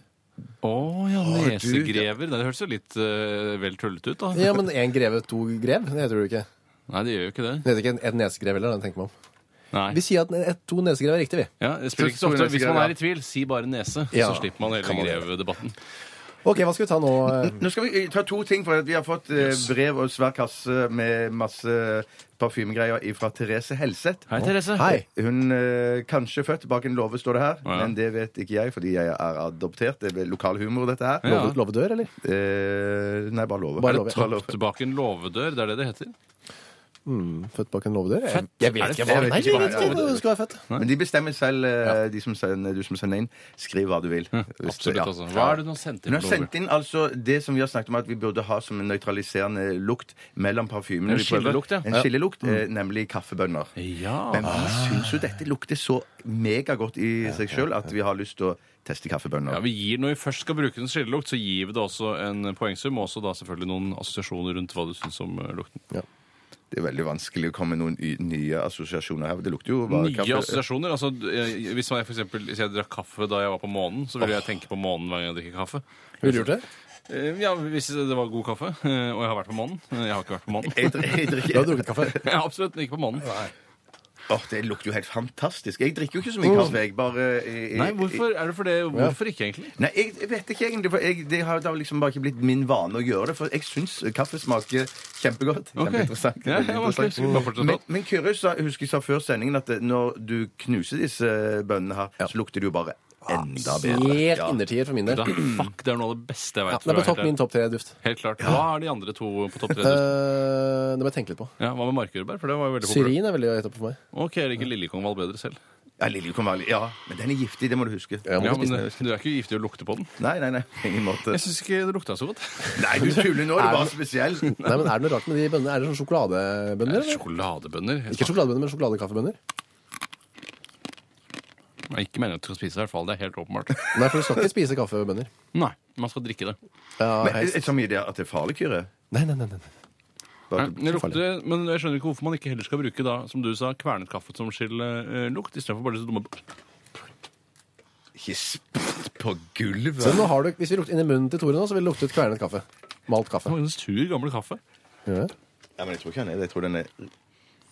Å ja, nesegrever.
nesegrever.
Det hørtes jo litt eh, vel tullete ut, da.
Ja, men én greve, to grev? Det heter det jo ikke.
Nei, det gjør jo ikke det.
Det heter ikke et nesegrev heller, den tenker man om.
Nei.
Vi sier at et, to nesegrev er riktig, vi.
Ja, det spiller ikke så ofte. Hvis man er i tvil, si bare nese,
Ja,
så slipper man hele
kan man gjøre.
grevdebatten.
Ok, hva skal vi ta nå? eh?
Nå skal vi eh, ta to ting, for at vi har fått eh, brev og svær kasse med masse parfymegreier fra Therese Helseth.
Hei, Therese.
Hei.
Hun eh, kanskje født bak en låve, står det her.
ja.
Men det vet ikke jeg, fordi jeg er adoptert. Det er vel lokal humor, dette her.
Ja.
Love- Lovedør, eller?
Eh, nei, bare låve.
Bare
Bare
låve.
låve.
Født bak en låvedør, det er det det heter.
Født bak en låvedør? Jeg-
Født?
Jeg
Er
vet
det
Jeg
ikke hva
født?
vet
Nei,
ikke
jeg
hva-
vet ikke hvor du skal være født.
Men de bestemmer selv, eh, de som sender, du som sender inn. Skriv hva du vil. Hvis du-
Absolutt,
ja.
altså. Hva er det du har sendt inn?
Hun har sendt inn altså det som vi har snakket om at vi burde ha som en nøytraliserende lukt mellom parfymene.
En
vi prøver.
skillelukt, ja. Mm.
En skillelukt, eh, nemlig kaffebønner.
Ja.
Men vi syns jo dette lukter så megagodt i seg sjøl at vi har lyst til å teste kaffebønner.
Ja, vi gir, Når vi først skal bruke en skillelukt, så gir vi det også en poengsum, og også da selvfølgelig noen assosiasjoner rundt hva du syns om eh, lukten.
Det er veldig vanskelig å komme med noen y- nye assosiasjoner her. Det lukter jo bare
Nye
kaffe.
assosiasjoner. altså eh, Hvis man for eksempel, hvis jeg drakk kaffe da jeg var på månen, så ville jeg tenke på månen hver gang jeg drikker kaffe.
Ville du gjort det?
Eh, Ja, Hvis det var god kaffe.
[laughs]
eh, Og jeg har vært på månen. Eh, Jeg har ikke vært på månen. [laughs]
Jeg dri- jeg
Du har
drikker
drukket kaffe?
Jeg har absolutt ikke på månen.
Åh, Det lukter jo helt fantastisk. Jeg drikker jo ikke så mye kaffe. Jeg bare eh, jeg,
Nei, hvorfor er det for det? Hvorfor ikke, egentlig?
Nei, jeg, jeg vet ikke egentlig. For jeg, det har da liksom bare ikke blitt min vane å gjøre det. For jeg syns kaffe smaker kjempegodt.
Ok.
Kjempeinteressant.
Ja, ja,
veldig
hva slags-
interessant.
bare fortsett
Men,
sånn.
men Kyrre sa, husker jeg sa før sendingen at det- når du knuser disse bønnene her, så lukter det jo bare enda bedre.
Helt
Ja.
innertier for min del.
Da, fuck, det er noe av det beste jeg
Ja,
veit.
det er på topp min topp tre-duft.
Helt klart. Hva er de andre to på topp tre? du?
Eh, det må jeg tenke litt på.
Ja, hva med markjordbær? For det var jo veldig populært.
Syrin er veldig høyt oppe for meg.
Ok, jeg liker lillekongvall bedre selv.
Ja, Lillekong Valley. Ja, men den er giftig. Det må du huske.
Jeg må
Ja,
ikke
men
spise
eh, Du er ikke giftig og lukter på den?
Nei, nei, nei. på Ingen måte.
Jeg syns ikke det lukta så godt.
Nei, du tuller nå. Det var
[laughs]
spesielt.
den. Nei, men Er det noe rart med de bønnene? Er det sånn sjokoladebønner? eller?
Sjokoladebønner?
Ikke sjokoladebønner, men sjokoladekaffebønner?
Nei, ikke meningen at du skal spise det, i hvert fall. Det er helt åpenbart.
Nei, for du skal ikke spise kaffebønner.
Nei, man skal drikke det.
Ja,
Men, eh,
helst.
er- så mye det at det er farlig, Kyrre?
Nei, nei, nei, nei. nei.
Bare
Nei,
at-
det lukter, men jeg skjønner ikke hvorfor man ikke heller skal bruke da, som du sa, kvernet kaffe som eh, skillelukt, istedenfor bare så dumme
Ikke spytt på
Så
gulvet.
nå har du, Hvis vi lukter inn i munnen til Tore nå, så vil det lukte ut kvernet kaffe. Malt kaffe.
Det var en sur, gammel kaffe.
Gjør det?
Ja, men jeg tror ikke han er det. Jeg tror den er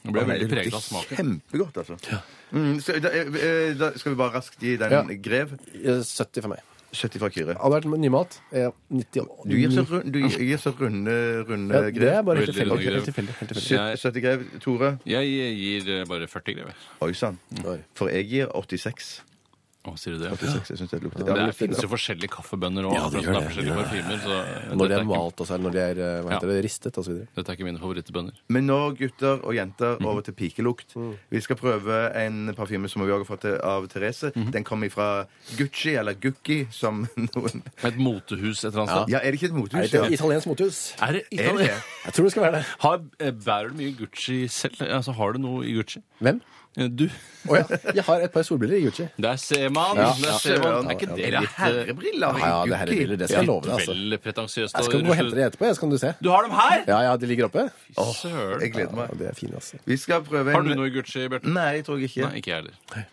Nå ble jeg
Den
veldig
lukter
preget av smaken.
Kjempegodt, altså. Mm, så, da, eh, da skal vi bare raskt gi den
Ja.
Grev.
Eh, 70 for meg.
70 fra Kyrre.
Hadde det vært nymat, eh, 90
Du gir så, rund, du gir så runde, runde
Ja, Det er
Grev.
bare helt
Veldig
tilfeldig.
rund
Helt
grev.
tilfeldig, helt tilfeldig.
Jeg-
70 Grev. Tore.
Jeg gir eh, bare 40 grever.
Oi sann.
Oi.
For jeg gir 86.
Å, sier du det?
86 jeg synes det lukter.
Det
Ja,
er, finnes jo forskjellige kaffebønner òg.
Ja, det gjør
det er
det,
forskjellige parfymer,
Når de
så
er
dette, er ikke,
malt, altså. Eller når de er eh, hva heter det, ristet osv.
dette er ikke mine favorittbønner.
Men nå, gutter og jenter,
Mhm.
over til pikelukt. Vi skal prøve en parfyme som vi også har fått av Therese.
Mhm.
Den kommer fra Gucci, eller Gucci, som noen
Et motehus et eller annet sted.
Ja, er det ikke et
Er
mothus?
Ah. det
ja?
et italiensk motehus?
Er det,
Er det det?
Jeg tror det skal være det.
Har, eh, bærer du mye Gucci selv? Altså, har du noe i Gucci?
Hvem?
Eh, Du.
Å ja. Jeg har et par solbriller i Gucci.
Der ser man!
Ja.
Der ser man. Er ikke det
Eller
litt eh,
herrebriller?
Ja, ja, det her er briller, det skal jeg love deg, altså.
vel pretensiøst?
Jeg
å
skal gå og
rusle-
hente det etterpå, jeg, så kan du se.
Du har dem her?!
Ja, ja, de ligger oppe.
Søren.
Jeg gleder
Ja,
meg.
de er fine, altså.
Vi skal prøve en
Har du noe i Gucci,
Mm,
Bjarte?
Nei, jeg tror jeg ikke.
Nei, ikke jeg heller.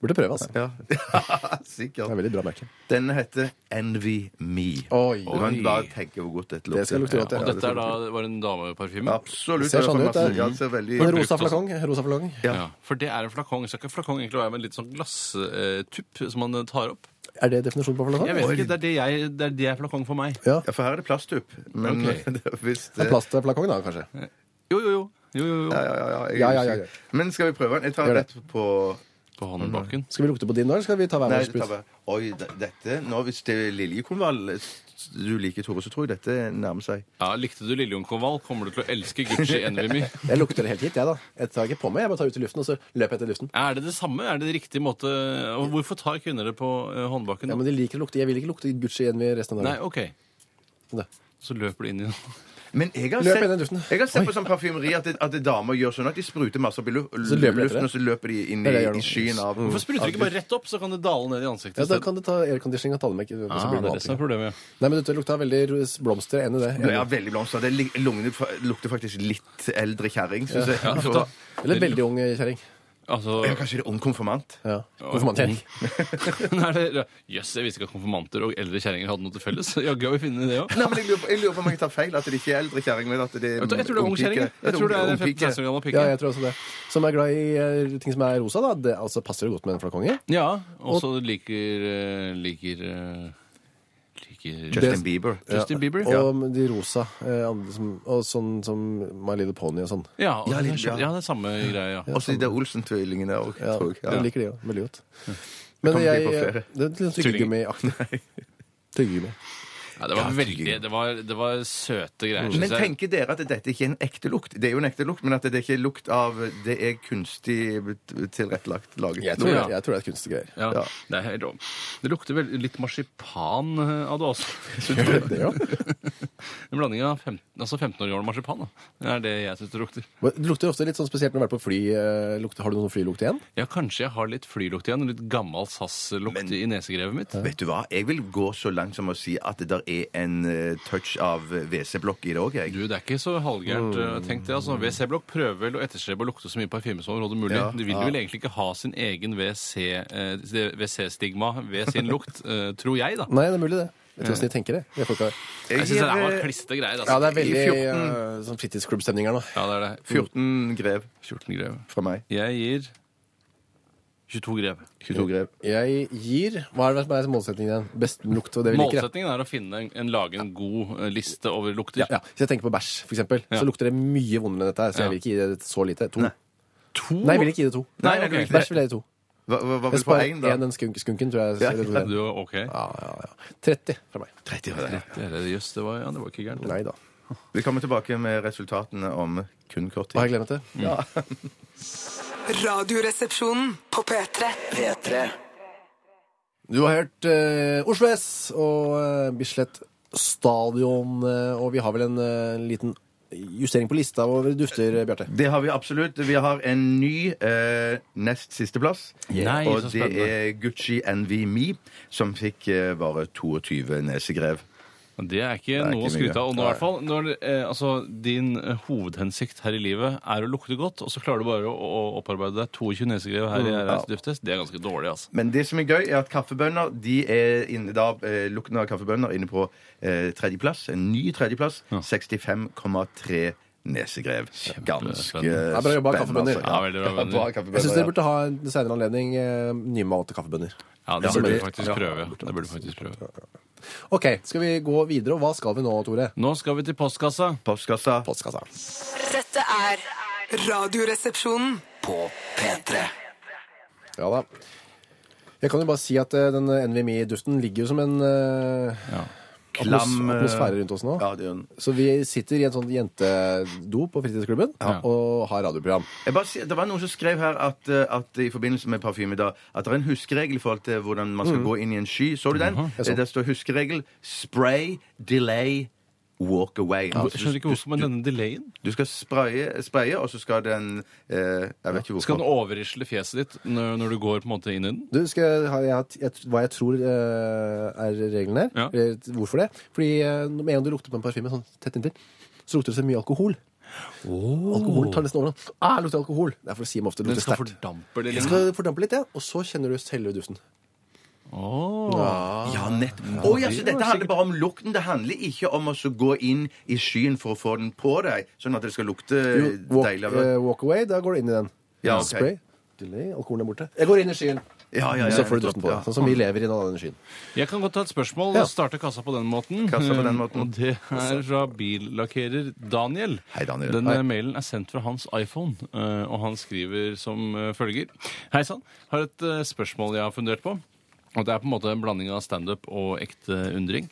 Burde prøve, altså. Det
Ja. [laughs] Sikkert.
er veldig bra merke.
Den heter Envy Me.
Oi.
Du kan bare tenke hvor godt dette lukter.
Det skal lukte godt, ja.
Ja,
Og
det
dette
skal
er da,
lukte
det var en
godt.
dameparfyme?
Absolutt.
Det ser
er
sånn ut,
masse-
det.
Ja, det ser veldig
En
brukt
rosa
også.
flakong. en Rosa flakong.
Ja.
Ja, for det er en flakong. Skal ikke flakong egentlig være med en litt sånn glasstupp som man eh, tar opp?
Er det definisjonen på flakong?
Jeg vet ikke, Det er det, jeg, det er det er flakong for meg.
Ja.
Ja, for her er det plasttupp. Men [laughs]
Ok.
hvis
Det er plastflakong, da, kanskje.
Jo, jo, jo. jo, jo,
Ja,
jo.
ja, ja. jeg er
Ja, ja, ja, ja.
usikker. Men skal vi prøve den? Jeg tar
Gjør det.
rett på
På håndbaken.
Skal vi lukte på din nå, eller skal vi ta hver
Nei,
vår
jeg tar
sprut?
bare Oi, d- dette Nå, hvis det er liljekonvall s- du liker, Tore, så tror jeg dette nærmer seg.
Ja, Likte du Lillejungkonvall, kommer du til å elske [laughs] Gucci Envimi.
Jeg lukter det helt hit, jeg, da. Jeg tar ikke på meg, jeg bare tar ut i luften, og så løper jeg etter luften.
Er det det samme? Er det riktig måte og Hvorfor tar kvinner det på eh, håndbaken?
Ja, Men de liker å lukte. Jeg vil ikke lukte Gucci igjen i resten av
Nei,
dagen. Sånn
OK.
Nei.
Så løper du inn i den.
Men jeg har
Løp
sett,
i den duften.
jeg har sett på sånn parfymeri at, det- at det damer gjør sånn at de spruter masse opp i lu
Så løper de etter
luften,
det.
og så løper de inn
Det er det jeg
i,
gjør nå.
i skyen av
Hvorfor spruter du ikke bare rett opp, så kan det dale ned i ansiktet?
Ja, Da
isteden?
kan du ta airconditioning og ta dem vekk. så blir
ah, det
det noe
er det som er
annet.
problemet, ja.
Nei, men det lukta veldig ros- blomster. Jeg er Enig i det. Jeg er
Ja,
enig.
veldig blomster. Det li- lungene fa- lukter faktisk litt eldre kjerring. synes jeg. Så-
Eller veldig ung eh, kjerring.
Altså, [laughs]
Ja, kanskje det er ung konfirmant?
Ja. Konfirmantkjerring.
nei, det er- Jøss, jeg visste ikke at konfirmanter og eldre kjerringer hadde noe til felles. [laughs] Jaggu har vi funnet det òg.
Nei, men jeg lurer, på, jeg lurer på om jeg tar feil, at det ikke er eldre kjerring, men at det er
Jeg tror jeg tror det er ung
ungpike.
kjerring. jeg. Jeg tror det er en
ungpike.
15 år gammel pike.
Ja, jeg tror også det. Som er glad i eh, ting som er rosa, da. Det altså, passer det godt med en flakong i.
Ja, og så liker eh, liker eh, liker
Justin Bieber.
Justin Bieber.
Og de rosa. eh, andre som, og sånn som My Little Pony og sånn.
Ja, og
Ja,
den er
litt, ja.
skjønn- ja, det er samme greia. Ja.
Og så de der Olsen-tvillingene òg,
Ja,
tror jeg.
Jeg
Ja.
liker de jo veldig godt. Men
Kan bli
jeg
på
eh,
ferie.
Det er litt sånn tyggegummiaktig. Tyggegummi.
Ja, det var veldig Det var, det var søte greier.
Mm. Men
synes jeg.
tenker dere at dette ikke er en ekte lukt? Det er jo en ekte lukt, men at det ikke er lukt av Det er kunstig tilrettelagt laget.
Jeg tror,
lukt.
det,
Ja.
jeg tror det er et kunstig greier.
Ja,
Ja.
Det, er helt lov. det lukter vel litt marsipan eh, av det
[laughs]
også.
Det, ja.
En blanding av 15, altså 15 år gammel marsipan. Da. Det er det jeg syns det lukter.
Men Det lukter ofte litt sånn spesielt når du har vært på fly. eh, lukter- Har du noen flylukt igjen?
Ja, Kanskje jeg har litt flylukt igjen. Litt gammel SAS-lukt i nesegrevet mitt.
Vet du hva, jeg vil gå så langt som å si at det der er en eh, touch av WC-blokk i det òg, jeg.
Du, Det er ikke så halvgærent
Mm.
eh, tenkt, det. altså. WC-blokk prøver vel å etterstrebe å lukte så mye parfyme som overhodet mulig.
Ja.
De vil vel egentlig ikke ha sin
[laughs]
egen WC-stigma ved sin lukt, eh, tror jeg, da.
Nei, det er mulig, det. Vet du hvordan de tenker det? Det folka her.
Jeg syns det her
eh,
var kliste greier.
eh, Ja,
Altså.
det er veldig
I 14.
eh, sånn fritidsklubbstemning her nå.
Ja, det er det.
14 grev
14 grev.
fra meg.
Jeg gir 22 grev.
22 grev.
Jeg gir Hva er det som er målsettingen igjen? Best lukt og det vi liker. ja.
Målsettingen er å finne en, en lage en god eh, liste over lukter.
Ja, ja. Hvis jeg tenker på bæsj, for eksempel,
Ja.
så lukter det mye vondere enn dette her. Så
Ja.
jeg vil ikke gi det så lite. To.
Nei.
Nei, jeg vil ikke gi det to.
Nei,
Nei,
ok.
nei,
Bæsj vil jeg gi to.
Hva, hva, hva
Jeg
vil du få
sparer
én, da?
én, den skunk, skunken, tror jeg.
Ja.
Ja,
Du, ok.
ja, ja, 30 fra meg.
30 var det.
Det, er- jøss, det, var, ja, det var ikke gærent.
Nei da.
Vi kommer tilbake med resultatene om kun kort
Har
tid.
jeg glemt det?
Radioresepsjonen på P3.
P3.
Du har hørt eh, Oslo S og eh, Bislett Stadion, eh, og vi har vel en eh, liten justering på lista over dufter, eh, Bjarte.
Det har vi absolutt. Vi har en ny eh, nest sisteplass.
Nei,
og
så
det
spennende.
er Gucci NV Me, som fikk eh, bare 22 nesegrev.
Men Det er ikke
er
noe å
ikke mye.
skryte av. Og nå, i hvert fall, når, eh, altså, din eh, hovedhensikt her i livet er å lukte godt, og så klarer du bare å, å opparbeide deg 22 nesegrev her i RS Dufttest. Det er ganske dårlig, altså.
Men det som er gøy, er at kaffebønner de er inne da, eh, lukten av kaffebønner inne på eh, tredjeplass. En ny tredjeplass. 65,3 nesegrev. Ganske
Ja, bra jobba,
spennende.
kaffebønner.
Ja, veldig bra bønner.
bra
Jeg syns dere
kaffebønner.
burde ha en senere anledning eh, nymalte kaffebønner.
Ja, det burde du faktisk prøve. Det burde du faktisk prøve.
OK, skal vi gå videre, og hva skal vi nå, Tore?
Nå skal vi til postkassa.
Ja. Postkassa.
Postkassa.
Dette er Radioresepsjonen.
På P3.
Ja da. Jeg kan jo bare si at eh, den NVMI-duften ligger jo som en eh, atmos
Klam, eh,
atmosfære rundt oss nå.
Ja, det gjør den.
Så vi sitter i en sånn jentedop på fritidsklubben og har radioprogram.
Jeg bare, sier- det var noen som skrev her at, eh, at i forbindelse med parfyme i dag, at det er en huskeregel i forhold til hvordan man skal gå inn i en sky. Så du den?
Mm.
Eh,
så.
Der står huskeregel spray, delay, walk away. Altså,
Jeg skjønner ikke hvorfor med denne delayen.
Du skal spraye, spraye og så skal den eh, Jeg vet ikke hvorfor.
Skal den overrisle fjeset ditt når, når du går på en måte inn i den?
Du, skal jeg ha jeg, har t- jeg, hva jeg tror eh, er regelen her?
Ja.
Eller Hvorfor det? Fordi eh, med en gang du lukter på en parfyme sånn tett inntil, så lukter det så mye alkohol. Alkohol tar nesten overhånd. Ah, lukter alkohol! Det er for å si dem ofte. det
Den
Lukter
skal
sterkt.
fordampe det
Den
litt.
skal fordampe litt, ja. Og så kjenner du selve duften.
Ja, nettopp. Å, ja, så dette handler bare om lukten. Det handler ikke om å så gå inn i skyen for å få den på deg, sånn at det skal lukte
Jo, walk,
deilig. av det.
eh, walk away, da går du inn i den.
Ja, ok.
Spray. Delay, alkoholen er borte. Jeg går inn i skyen,
Ja, ja, ja,
så får
nettopp,
du duften på deg.
ja.
Sånn som vi lever i den andre skyen.
Jeg kan godt ta et spørsmål
Ja.
og starte kassa på den måten. Mm.
Kassa på den måten.
Og det er fra billakkerer Daniel.
Hei, Daniel.
Den
Hei.
eh, mailen er sendt fra hans iPhone, eh, og han skriver som eh, følger. Hei sann, har et eh, spørsmål jeg har fundert på. Og Det er på en måte en blanding av standup og ekte undring.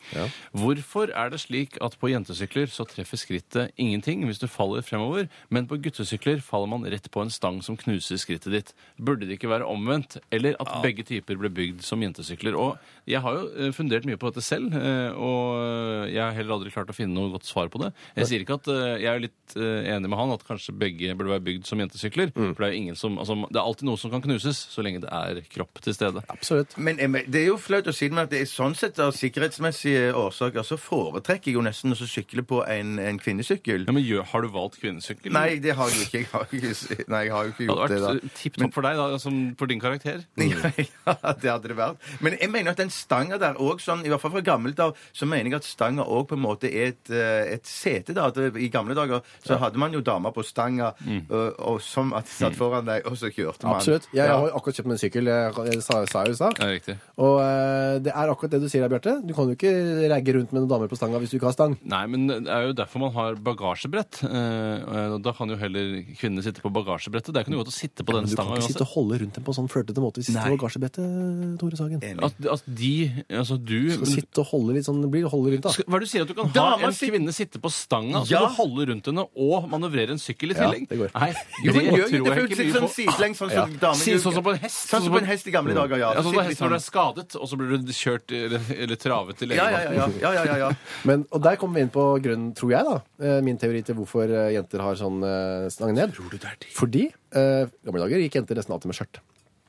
Hvorfor er det slik at på jentesykler så treffer skrittet ingenting hvis du faller fremover, men på guttesykler faller man rett på en stang som knuser skrittet ditt? Burde det ikke være omvendt, eller at begge typer ble bygd som jentesykler? Og jeg har jo eh, fundert mye på dette selv, eh, og eh, jeg har heller aldri klart å finne noe godt svar på det. Jeg sier ikke at eh, jeg er litt eh, enig med han at kanskje begge burde være bygd som jentesykler. For det er jo ingen som Altså, det er alltid noe som kan knuses, så lenge det er kropp til stede.
Absolutt.
Men jeg- men det er jo flaut å si det, men at det er sånn sett av sikkerhetsmessige årsaker så foretrekker jeg jo nesten å så sykle på en, en kvinnesykkel.
Ja, men gjør, Har du valgt kvinnesykkel?
Nei, det har jeg ikke. Jeg har ikke, s- nei, jeg har jo ikke
Det
gjort
hadde
det, da.
vært eh, tipp topp for deg, da, som for din karakter.
Ja, [laughs] ja, det hadde det vært. Men jeg mener at den stanga der òg, sånn, i hvert fall fra gammelt av, så mener jeg at stanga òg på en måte er et, eh, et sete. da, at I gamle dager så hadde man jo dama på stanga
Mm.
og, og som at de satt foran deg, og så kjørte man.
Absolutt. Jeg
Ja.
har jo akkurat kjøpt meg en sykkel, jeg, jeg sa sa jeg jo i stad.
Ja, riktig.
Og eh, det er akkurat det du sier der, Bjarte. Du kan jo ikke ragge rundt med noen damer på stanga hvis du ikke har stang.
Nei, men det er jo derfor man har bagasjebrett. Eh, og da kan jo heller kvinnene sitte på bagasjebrettet. Det er ikke noe godt å sitte på den
Men du kan
stanga
ikke sitte
uansett.
og holde rundt dem på en sånn flørtete måte hvis det
Nei.
var gasjebrettet, Tore Sagen. Du
Enig.
At, at de Altså du
Skal
men-
sitte og holde litt sånn, blir holde rundt, da.
Skal- Hva er det du sier? At du kan
Dama
ha en
sit-
kvinne sitte på stanga, og så
Ja.
kan du holde rundt henne og manøvrere en sykkel i
Ja,
tillegg?
det går.
Nei,
Jo,
det
men gjør jo
tror
det,
jeg
for hun
ikke
sitter sånn
mye på.
sidelengs, sånn som damer
Si sånn som på en hest.
Sånn som på en hest i gamle dager, ja.
Ja, sånn som
Sitter
på
litt
hest når du er skadet, og så blir du kjørt eller, eller travet til
ja, ja, ja, ja, ja, ja,
[laughs]
ja.
Men, og der kommer vi inn på grunnen, tror jeg, da. eh, Min teori til hvorfor eh, jenter har sånn eh, stang ned. Fordi eh, i gamle dager gikk jenter nesten alltid med skjørt.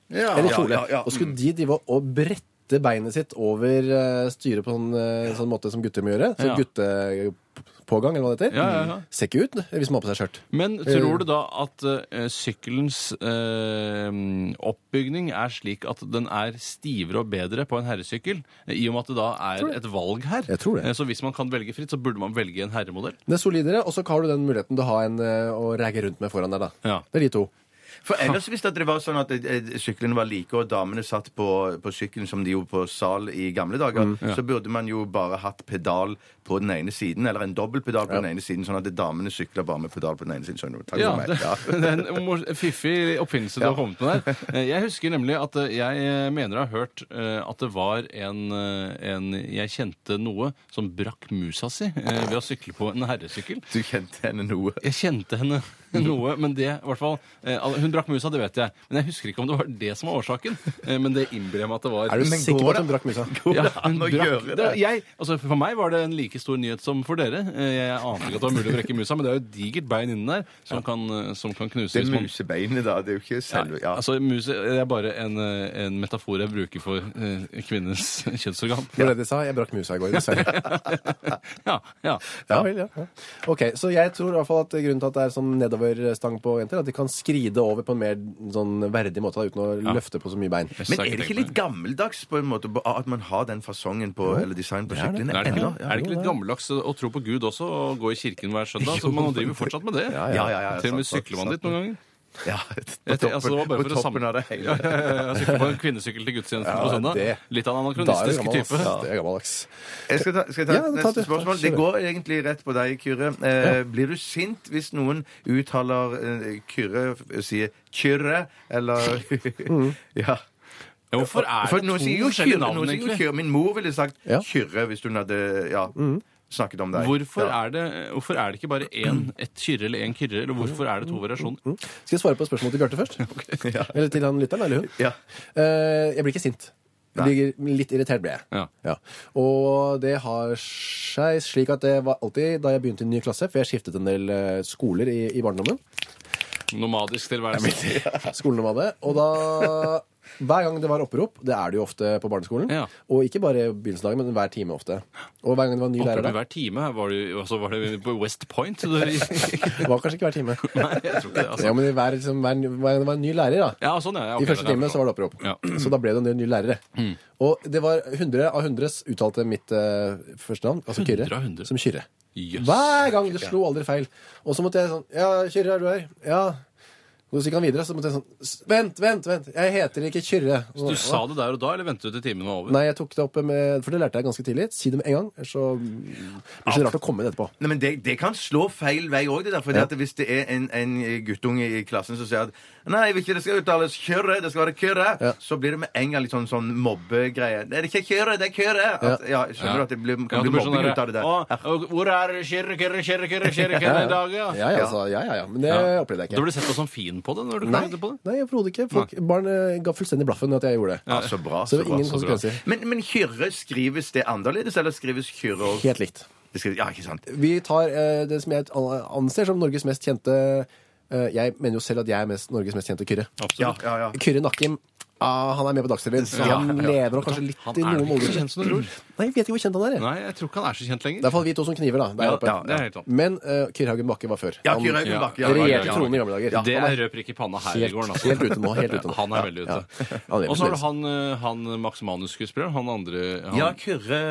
ja,
Eller
ja,
kjole.
ja, ja.
Og skulle de drive og eh, sånn brette beinet sitt over eh, styret på en sånn måte som gutter må gjøre, så
Ja.
gutte pågang, eller hva det heter.
Ja, ja, ja.
Ser ikke ut hvis man har på seg skjørt.
Men tror du da at eh, sykkelens eh, oppbygning er slik at den er stivere og bedre på en herresykkel, i og med at det da er et valg her?
Jeg tror det.
Eh, Så hvis man kan velge fritt, så burde man velge en herremodell?
Den er solidere, og så har du den muligheten til å ha en eh, å ragge rundt med foran der, da.
Ja.
Det er de to.
For ellers hvis det var sånn at eh, syklene var like, og damene satt på, på sykkelen som de gjorde på sal i gamle dager,
Mm.
så burde man jo bare hatt pedal på den ene siden, eller en dobbel pedal på den ene siden, sånn at damene sykler bare med pedal på den ene siden. Sånn, takk
Ja,
for meg.
det, [laughs] det er en mor- fiffig oppfinnelse du har kommet med der. Eh, Jeg husker nemlig at eh, jeg mener jeg har hørt eh, at det var en, eh, en jeg kjente noe som brakk musa si eh, ved å sykle på en herresykkel.
[laughs] Du kjente henne noe.
Jeg kjente henne [laughs] noe, men det i hvert fall eh, al- Hun brakk musa, det vet jeg. Men jeg husker ikke om det var det som var årsaken. eh, Men det innbiller jeg meg at det var.
Er du
Men går
sikker på at hun
det-
brakk musa?
Går
[laughs] Ja,
det [laughs] an
hun
å
brakk-
gjøre
det,
det?
jeg, altså for meg var det en like stor nyhet som for dere. Eh, Jeg aner ikke at det var mulig å brekke musa, men det er jo et digert bein inni der som kan, eh, som kan knuse.
Det
hvis
er
man-
musebeinet, da. Det er jo ikke selve
ja.
ja.
Altså, muse det er bare en, eh, en metafor jeg bruker for eh, kvinnens [laughs]
[laughs]
kjønnsorgan.
Det var det de sa. Jeg brakk musa i går.
[laughs]
Dessverre.
Ja, ja.
Ja, vel, ja. ja. Ok, Så jeg tror i hvert fall at grunnen til at det er sånn nedoverstang på jenter, at de kan skride over på en mer sånn verdig måte da, uten å løfte på så mye bein.
Jeg
Men
sa
er det ikke litt gammeldags på en måte på- at man har den fasongen på, eller design på syklene
Er det, ikke,
ennå?
er det ikke litt gammeldags å tro på Gud også, og gå i kirken hver
[laughs]
søndag? Så man driver fortsatt med det.
ja, ja, ja,
Til og med
sant,
sykler man
sant,
dit noen ganger.
Ja, på
Jeg tenker, altså, det var
toppen,
bare
på
for å
toppen
sam-
av det hele.
Ja, ja, ja, Eh, jeg sykler på en kvinnesykkel til gudstjenesten på søndag.
det-
sånn, Litt av en
Da er du
anakronistisk
gammel, ass.
type.
Det er gammeldags.
Jeg skal ta, skal jeg ta
Ja,
et
ta
neste
det.
spørsmål.
Kjør.
Det går egentlig rett på deg, Kyrre. Eh, Blir du sint hvis noen uttaler eh, Kyrre f- sier Kyrre,
[laughs]
eller Mm. Ja.
Ja, hvorfor er
For
det
noen
to
sier jo
forskjellige
Kyrre.
navn,
Noen sier jo
egentlig?
Kyrre. Min mor ville sagt
Ja.
Kyrre hvis hun hadde ja,
Mm.
snakket om deg.
Hvorfor
ja.
er, det, hvorfor er det ikke bare én et kyrre eller én kyrre? Eller hvorfor er det
Mm,
to variasjoner?
Skal jeg svare på spørsmålet til Bjarte først?
ja.
Eller til han lytteren, eller hun?
[laughs] Ja.
Eh, jeg blir ikke sint. Jeg Blir litt irritert ble jeg.
Ja.
Og det har seg slik at det var alltid da jeg begynte i ny klasse, for jeg skiftet en del eh, skoler i, i barndommen,
mm.
Nomadisk tilværelse.
skolene var det, og da hver gang det var opprop, det er det jo ofte på barneskolen,
Ja.
og ikke bare i begynnelsen av dagen, men hver time ofte. Og hver gang det var en ny lærer
Opprop i
der,
hver time. Var det, og så var det på West Point. [laughs] Så det,
det var kanskje ikke hver time.
[laughs] nei, jeg tror ikke det. Altså.
Ja, men i hver, liksom, hver, hver gang det var en ny lærer da,
Ja, sånn, ja. ja, ok,
I første
det er
time så var det opprop.
Ja. Mm.
Så da ble det en del nye lærere. Og det var 100 av 100 uttalte mitt eh, første navn, altså
100
Kyrre,
av 100?
som Kyrre.
Jøss.
Hver gang! Det slo aldri feil. Og så måtte jeg sånn Ja, Kyrre, er du her? Ja. Og så gikk han videre, så måtte jeg sånn "S- Vent, vent, vent! Jeg heter ikke Kyrre. Og
Du
sånn,
sa det der og da, eller ventet du til timen var over?
Nei, jeg tok det opp med For det lærte jeg ganske tidlig. Si det med en gang, ellers så blir det så rart å komme inn etterpå.
Nei, men det, det kan slå feil vei òg. Ja. Hvis det er en, en eh, guttunge i klassen som sier at Nei, jeg vil ikke det skal uttales kjørre, det skal være kørre,
Ja.
så blir det med en gang litt sånn, sånn mobbegreie. Det er ikke kjørre, det er kørre! At, ja, skjønner du at det blir,
Ja,
kan
det
bli
blir sånn
mobbing
der,
ut av det der?
«Å, og Hvor er kyrre, kyrre, kjørre, kjørre, kjørre, kjørre i dag, ja?
Ja, ja, altså, ja, ja, ja. Men det
Ja.
opplevde jeg
Du
ikke.
ble sett på som fin på det når du kom
Nei,
inn på det?
nei overhodet ikke. Folk, barn eh, ga fullstendig blaffen i at jeg gjorde det.
Ja, så bra.
Så
Så
det var
bra.
ingen
så bra.
konsekvenser.
Men, men kyrre, skrives det annerledes, eller skrives kyrre òg?
Helt likt.
Ja, ikke sant?
Vi tar eh, det som jeg an- anser som Norges mest kjente eh, Jeg mener jo selv at jeg er mest, Norges mest kjente Kyrre.
Ja, ja, ja.
Kyrre Nakkim. Ah, han er med på Dagsrevyen, så
Ja,
han
ja.
lever nok kanskje litt
Han
i
er
noen
nok ikke
målgrupper.
så kjent som du tror.
Nei, jeg vet ikke hvor kjent han er. jeg.
Nei, jeg tror ikke han er så kjent
Det er i
lenger.
hvert fall vi to som kniver, da. Der
Ja,
oppe.
ja, det er helt sant.
Men eh, Kyrre Haugen Bakke var før.
Ja,
Han
Kyrre Haugen
ja.
Bakke.
Kyrre
Ja,
regjerte
Haugen
ja,
Bakke.
tronen i gamle dager.
Det
Han
er rød prikk i panna her i gården,
helt,
altså.
helt ute nå. Helt ute nå.
[laughs] Han er veldig ute.
Ja. Han lever
Og så har du
fremdeles.
han, eh, han Max Manus-skuespilleren. Han andre han,
ja kyrre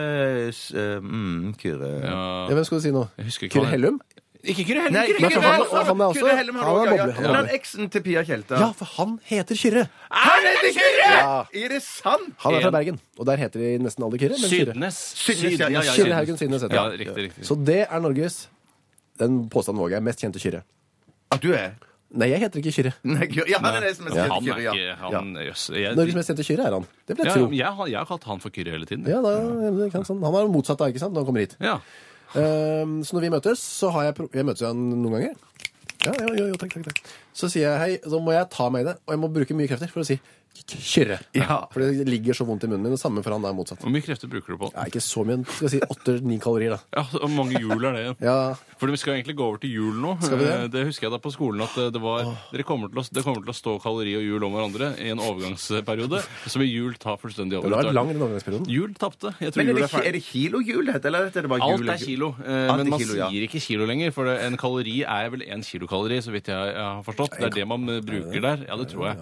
s- eh, mm, Kyrre
ja.
Ja, hvem skal du si nå?
Jeg husker ikke
Kyrre
han-
Hellum?
Ikke Kyrre
Nei,
Henrik!
Kyrre
for han-
Hellum!
og han er også-
Kyrre Hellum har
han er
også, ja, ja.
bobler, han er
Men han
bobler.
eksen til Pia Tjelta.
Ja, for han heter Kyrre!
Han heter Kyrre!
Ja.
Er det sant?
Han er
En-
fra Bergen, og der heter de nesten alle Kyrre. men Kyrre.
Sydnes.
Sydnes, ja, ja, ja,
Kyrre Haugen Sydnes heter
Ja,
han.
riktig, riktig.
Så det er Norges Den påstanden våger jeg. Mest kjente Kyrre.
At du er?
Nei, jeg heter ikke Kyrre.
Nei, Kyrre. Ja, han er det som er
Han
Kyrre,
er
ja.
ikke
Ja.
han, jøss. Jeg,
Norges mest kjente Kyrre er han. Det vil
ja,
jeg tro.
jeg, har- jeg har kalt han for Kyrre hele tiden.
Ja, da, det kan, sånn. Han er motsatt da, ikke sant, når han kommer hit.
Ja.
Ehm, så når vi møtes, så har jeg pro Jeg møtes jo han noen ganger. Ja, jo, jo, jo, takk, takk, takk. Så sier jeg hei, så må jeg ta meg i det, og jeg må bruke mye krefter for å si kyrre.
Ja.
For det ligger så vondt i munnen min. Det samme for han der motsatt.
Hvor mye krefter bruker du på?
Ja, ikke så mye, men skal jeg si åtte-ni kalorier, da.
Ja, Hvor mange jul er det?
Ja,
For vi skal egentlig gå over til jul nå.
Skal vi det?
Eh, husker jeg da på skolen at eh, det var dere kommer til å, Det kommer til å stå kalori og jul om hverandre i en overgangsperiode, som i jul tar fullstendig
det
over.
har vært lang den overgangsperioden.
Jul tapte. Jeg tror
Men er
jul
det,
er ferdig.
er det kilohjul det heter, eller er det bare jul?
Alt er kilo, eh,
Alt er
men man
kilo, ja.
sier ikke kilo lenger. For det, en kalori er vel én kilokalori, så vidt jeg, jeg har forstått. Det er det man eh, bruker der. Ja, det tror jeg.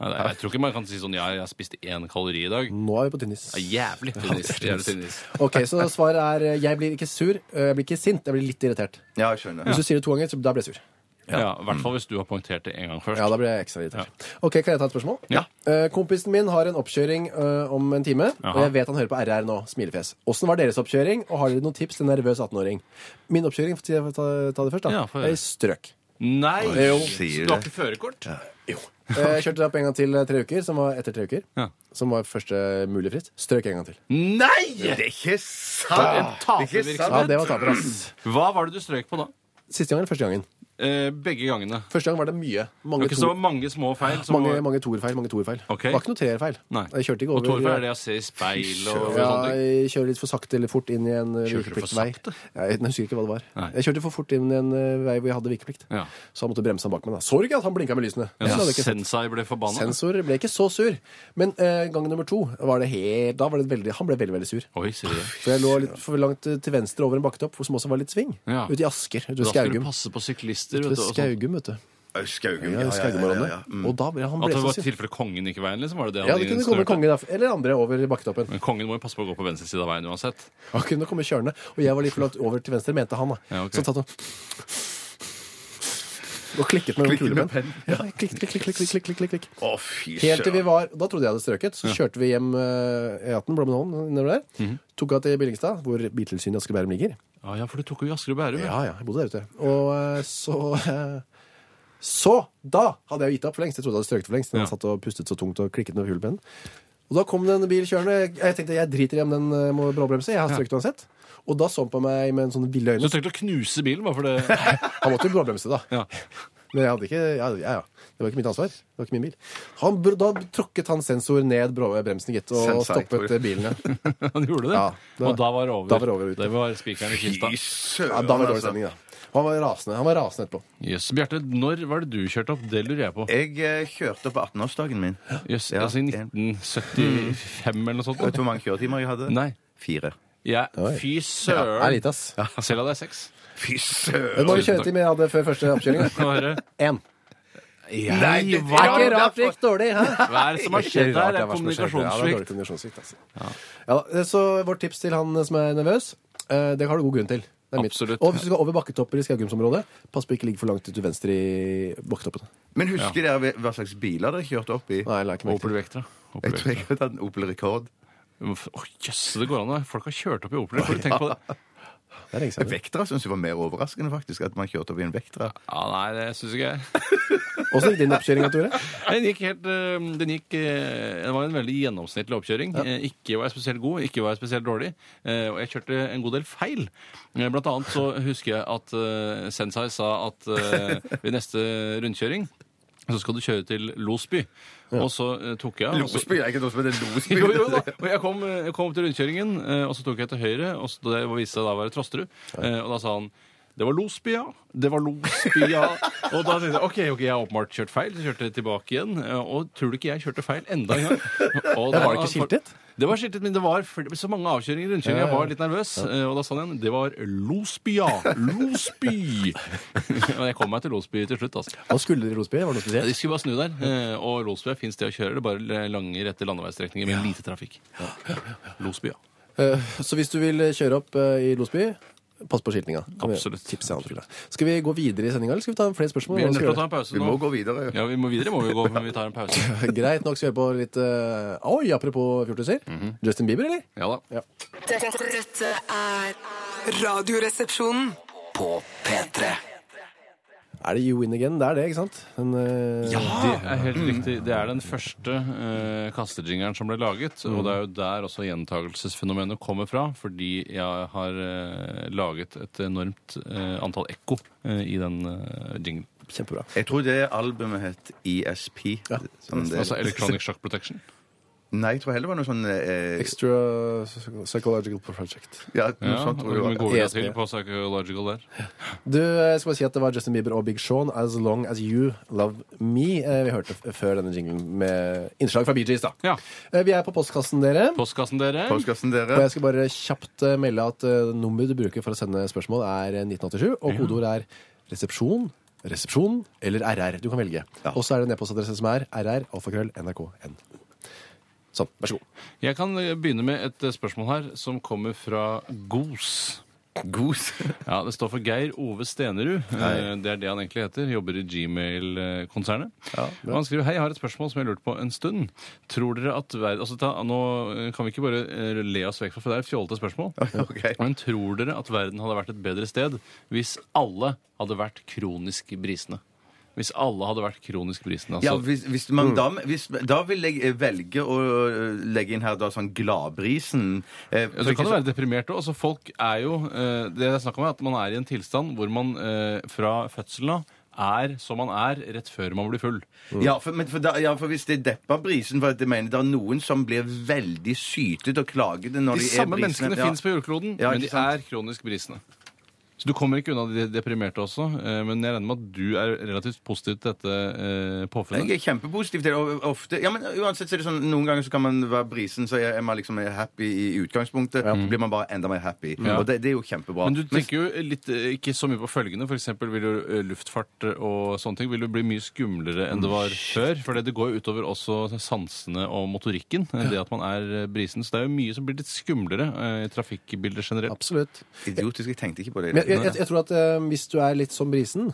Nei, det- Jeg tror ikke man kan si sånn ja, jeg spiste én kalori i dag.
Nå er vi på tennis.
Det er jævlig
[laughs]
tynnist. Jævlig tynnist.
Ok, så svaret er eh, jeg blir ikke sur, eh, jeg blir ikke sint, jeg blir litt irritert.
Ja, jeg skjønner.
Hvis du sier det to ganger, så da blir jeg sur.
Ja, I hvert fall hvis du har poengtert det en gang først.
Ja, da blir jeg ekstra irritert. Ok, Kan jeg ta et spørsmål?
Ja.
Eh, kompisen min har en oppkjøring eh, om en time, og
Jaha.
jeg vet han hører på RR nå. Smilefjes. Åssen var deres oppkjøring, og har dere noen tips til en nervøs 18-åring? Min oppkjøring, får jeg ta, ta det først, da.
Ja, få høre.
jeg strøk.
Nei!
Jo.
Sier
Så du har ikke førerkort? [laughs]
Eh, Jeg kjørte opp en gang til eh, tre uker, som var etter tre uker.
Ja.
Som var første mulig frist. Strøk en gang til.
Nei!
Det er ikke
For
sant! Det er
en
ikke
tapervirksomhet.
sant.
Ja, det var taper, ass.
Hva var det du strøk på da?
Siste gangen eller første gangen?
Eh, begge gangene. Det
Første gang var det mye.
var
Mange
ikke så
to-
mange små feil. Som
mange,
var...
mange toerfeil. mange toerfeil.
Ok.
Det var ikke noe treerfeil.
Nei.
Jeg kjørte ikke
Og
over eh,
Torfinn er det å se i speil og
Ja,
sånne ting.
jeg kjører litt for sakte eller fort inn i en eh,
Kjørte du for
vikepliktvei.
sakte?
Ja, Jeg husker ikke hva det var.
Nei.
Jeg kjørte for fort inn i en eh, vei hvor jeg hadde vikeplikt.
Ja.
Så han måtte bremse han bak meg. da. Så du ikke at han blinka med lysene?
Ja,
Så hadde jeg ikke sett.
Sensei ble forbanna.
Sensor ble ikke så sur. Men eh, gang nummer to var det helt Da var det veldig Han ble veldig, veldig sur.
Oi, sier du det?
For jeg lå litt for langt eh, til venstre over en bakketopp hvor som også var litt sving.
Ja.
Ute i Asker. Ute
Da
ved
skal du
Skaugum.
passe på syklister.
Ute
Vet
ved
du, og sånn. sånt.
Skaugum, vet du.
Skaugum.
Ja, Mm. Skaugumområdet. Og da ble han
At
ble
det
så
var
sur.
tilfelle kongen gikk veien, liksom? Var det det
Ja,
han
det kunne komme
instruerte?
konge derfra. Eller andre over bakketoppen.
Men kongen må jo passe på å gå på venstre side av veien uansett.
Han kunne komme kjørende, og jeg var litt for langt over til venstre, mente han. da.
Ja, ok.
Så han tatt og og klikket med en
Klikket med
kulepenn. Ja, klikk, klikk, klikk, klikk, klikk, klikk, klikk, klikk.
Mm. Å, fy
Helt til vi
søren.
var, Da trodde jeg hadde strøket. Så kjørte vi hjem eh, E18 Blommenholm nedover der. Tok av til Billingstad, hvor Biltilsynet i Asker og Bærum ligger.
Ah, Ja, ja, for du tok jo i Asker og Bærum. ja.
Ja, ja, jeg bodde der ute. Og eh, så eh, Så! Da hadde jeg jo gitt opp for lengst. Jeg trodde jeg hadde strøket for lengst. men
Ja.
Jeg satt og pustet så tungt og klikket med hulepennen. Og da kom det en bil kjørende. Jeg- Jeg tenkte jeg driter i om den eh, må bråbremse. Jeg har strøket uansett. Og da så han på meg med en sånn ville øyne.
Så du trengte å knuse bilen bare for
[laughs]
det [laughs]
Han måtte jo bråbremse, da.
ja.
[laughs] Men jeg hadde ikke ja, ja, ja. Det var ikke mitt ansvar. Det var ikke min bil. Han, br- da tråkket han sensor ned bråbremsen, gitt, og
Sensor.
stoppet eh, bilene.
Han gjorde det.
Ja, det-
og da var det over.
da var det over ute.
Det var spikeren i kista.
Fy
Jøss.
søren.
Ja, da var det dårlig
altså.
stemning, da. Og Han var rasende. Han var rasende etterpå.
Yes. Bjarte, når var det du kjørte opp? Det lurer jeg på.
Jeg eh, kjørte på 18-årsdagen min.
Jøss,
Ja,
altså i 1975 eller noe sånt?
Vet du hvor mange kjøretimer jeg hadde?
Nei.
Fire.
Jeg,
Oi.
fy
Det er
søren!
lite, ass.
Selv hadde jeg seks.
Fy
Men
søren!
Hvor mange kjøretimer jeg hadde før første oppkjøring?
Nå hører jeg.
Én.
Nei, det-
hva
Ja,
er det-
derfor-
gikk dårlig, hæ?
Hva er [laughs] det som har skjedd
Ikke rart
her? Det
jeg
er
var som skjedde. Ja, det er dårlig
kommunikasjonssvikt.
kommunikasjonssvikt, altså. Ja, da, så vårt tips til han som er nervøs, eh, det har du god grunn til. Det er mitt.
Absolutt.
Og hvis du skal over bakketopper i Skaugumsområdet, pass på ikke ligge for langt ut til venstre i bakketoppene.
Men husker dere hva slags biler dere kjørte opp i?
Nei, la ikke merke
Opel
til.
Vectra. Opel
Jeg tror
Vectra.
jeg hadde en Opel Rekord.
Å, jøss, det går an. da. Folk har kjørt opp i Opel. Får du tenke på det?
Det er lenge siden.
Vektra syns jeg var mer overraskende, faktisk. At man kjørte opp i en Vektra.
Ja, Nei, det syns ikke jeg.
Åssen gikk din oppkjøring, Tore?
Den gikk helt eh, Den gikk eh, Det var en veldig gjennomsnittlig oppkjøring. Eh, Ikke var jeg spesielt god, ikke var jeg spesielt dårlig. Eh, Og jeg kjørte en god del feil. Eh, Blant annet så husker jeg at eh, Sensei sa at eh, ved neste rundkjøring så skal du kjøre til Losby. Og så eh, tok jeg og så-
Losby er ikke noe som heter
[laughs]
Losby.
Jo, jo da. Og jeg kom, jeg kom til rundkjøringen, eh, og så tok jeg til høyre, og så det viste seg da å være Trosterud. Eh, Og da sa han det var Losby, ja. Det var Losby,
[laughs]
ja. Og da tenkte jeg ok, ok, jeg har åpenbart kjørt feil. Så kjørte jeg tilbake igjen. eh, Og tror du ikke jeg kjørte feil enda
[laughs]
en gang? Og da-
Ja, var det ikke skiltet?
Det var skiltet, men det var fl- så mange avkjøringer i rundkjøringen. Jeg var litt nervøs. eh, Og da sa han igjen det var Losby, ja. Losby! [laughs] Og jeg kom meg til Losby til slutt, altså.
Hva skulle dere i Rosby? Var det noe
De
spesielt?
skulle bare snu der. eh, Og Losby er fint sted å kjøre. Det er bare lange, rette landeveisstrekninger med lite trafikk. Losby, ja.
Eh, Så hvis du vil kjøre opp eh, i Losby, pass på skiltinga. Kom igjen.
Absolutt.
Tips jeg har til deg. Skal vi gå videre i sendinga, eller skal vi ta flere spørsmål?
Vi
Hva
er nødt
skal
til
vi
å ta en pause
Vi
nå.
må gå videre.
Ja, vi må videre må vi gå, men vi tar en
[laughs]
pause.
gjøre? Greit nok, skal vi høre på litt eh, Oi, apropos fjortiser. Justin Bieber, eller?
Ja da.
Ja.
Dette, dette er Radioresepsjonen.
På P3.
Er det You Win Again? Det er det, ikke sant? Den, eh,
Det er helt riktig. Det er den første eh, kastejingeren som ble laget.
Mm.
Og det er jo der også gjentagelsesfenomenet kommer fra, fordi jeg har eh, laget et enormt eh, antall ekko eh, i den eh, jinglen.
Kjempebra.
Jeg tror det albumet het ESP.
Ja.
Sånn det-
Altså Electronic Shock Protection.
Nei, jeg tror heller det var noe sånn eh,
Extra Psychological Project.
Ja, noe
Ja,
sånt tror jeg. E
vi
det var.
går
ESP.
til på psychological der.
Du, jeg skal bare si at Det var Justin Bieber og Big Sean, 'As Long As You Love Me'. Eh, Vi hørte f- før denne jinglen med innslag fra Bee Gees. da.
Ja.
Eh, Vi er på postkassen, dere.
Postkassen, dere.
Postkassen
Og
dere.
jeg skal bare kjapt eh, melde at eh, nummeret du bruker for å sende spørsmål, er eh, 1987, og kodeord er 'resepsjon'. Resepsjon eller RR. Du kan velge. Og så er det en e-postadresse som er rr, alfakrøll, nrk.no. Sånn. Vær så god.
Jeg kan eh, begynne med et eh, spørsmål her som kommer fra Gos.
Gos.
[laughs] Ja, Det står for Geir Ove Stenerud. Eh, Det er det han egentlig heter. Jobber i Gmail-konsernet. Og han skriver Hei, jeg har et spørsmål som jeg har lurt på en stund. Tror dere at verden altså, ta, Nå eh, kan vi ikke bare eh, le oss vekk fra for det er et fjollete spørsmål.
[laughs] Ok.
Men tror dere at verden hadde vært et bedre sted hvis alle hadde vært kronisk brisene? Hvis alle hadde vært kronisk brisene,
Ja,
altså.
hvis, hvis man da, hvis, da vil jeg eh, velge å eh, legge inn her da sånn Gladbrisen. Eh,
Ja,
for
så
ikke
kan det
så-
være deprimert også. Altså, folk er jo, eh, det det er snakk om er at man er i en tilstand hvor man eh, fra fødselen av er som man er rett før man blir full.
Ja, for, men for da, ja, for hvis det depper brisen For at jeg mener det er noen som blir veldig sytete og klagete når
De
de, er
samme
brisene.
menneskene fins på jordkloden,
Ja, ikke
men de
sant.
er kronisk brisene. Så du kommer ikke unna de deprimerte også, eh, men jeg regner med at du er relativt positiv til dette eh,
Jeg
påfunnet.
er kjempepositiv til det. og ofte, ja, men uansett så er det sånn, Noen ganger så kan man være brisen, så er er man liksom happy i utgangspunktet. Så blir man bare enda mer happy. Og det, det er jo kjempebra.
Men du tenker jo litt, eh, ikke så mye på følgende. For eksempel vil jo eh, luftfart og sånne ting vil jo bli mye skumlere enn det var før. For det går jo utover også sansene og motorikken. eh, Det at man er eh, brisen. Så det er jo mye som blir litt skumlere eh, i trafikkbildet generelt.
Absolutt.
Idiotisk, jeg tenkte ikke på det. i
Men
det
jeg,
hele
jeg, jeg tror at eh, hvis du er litt som brisen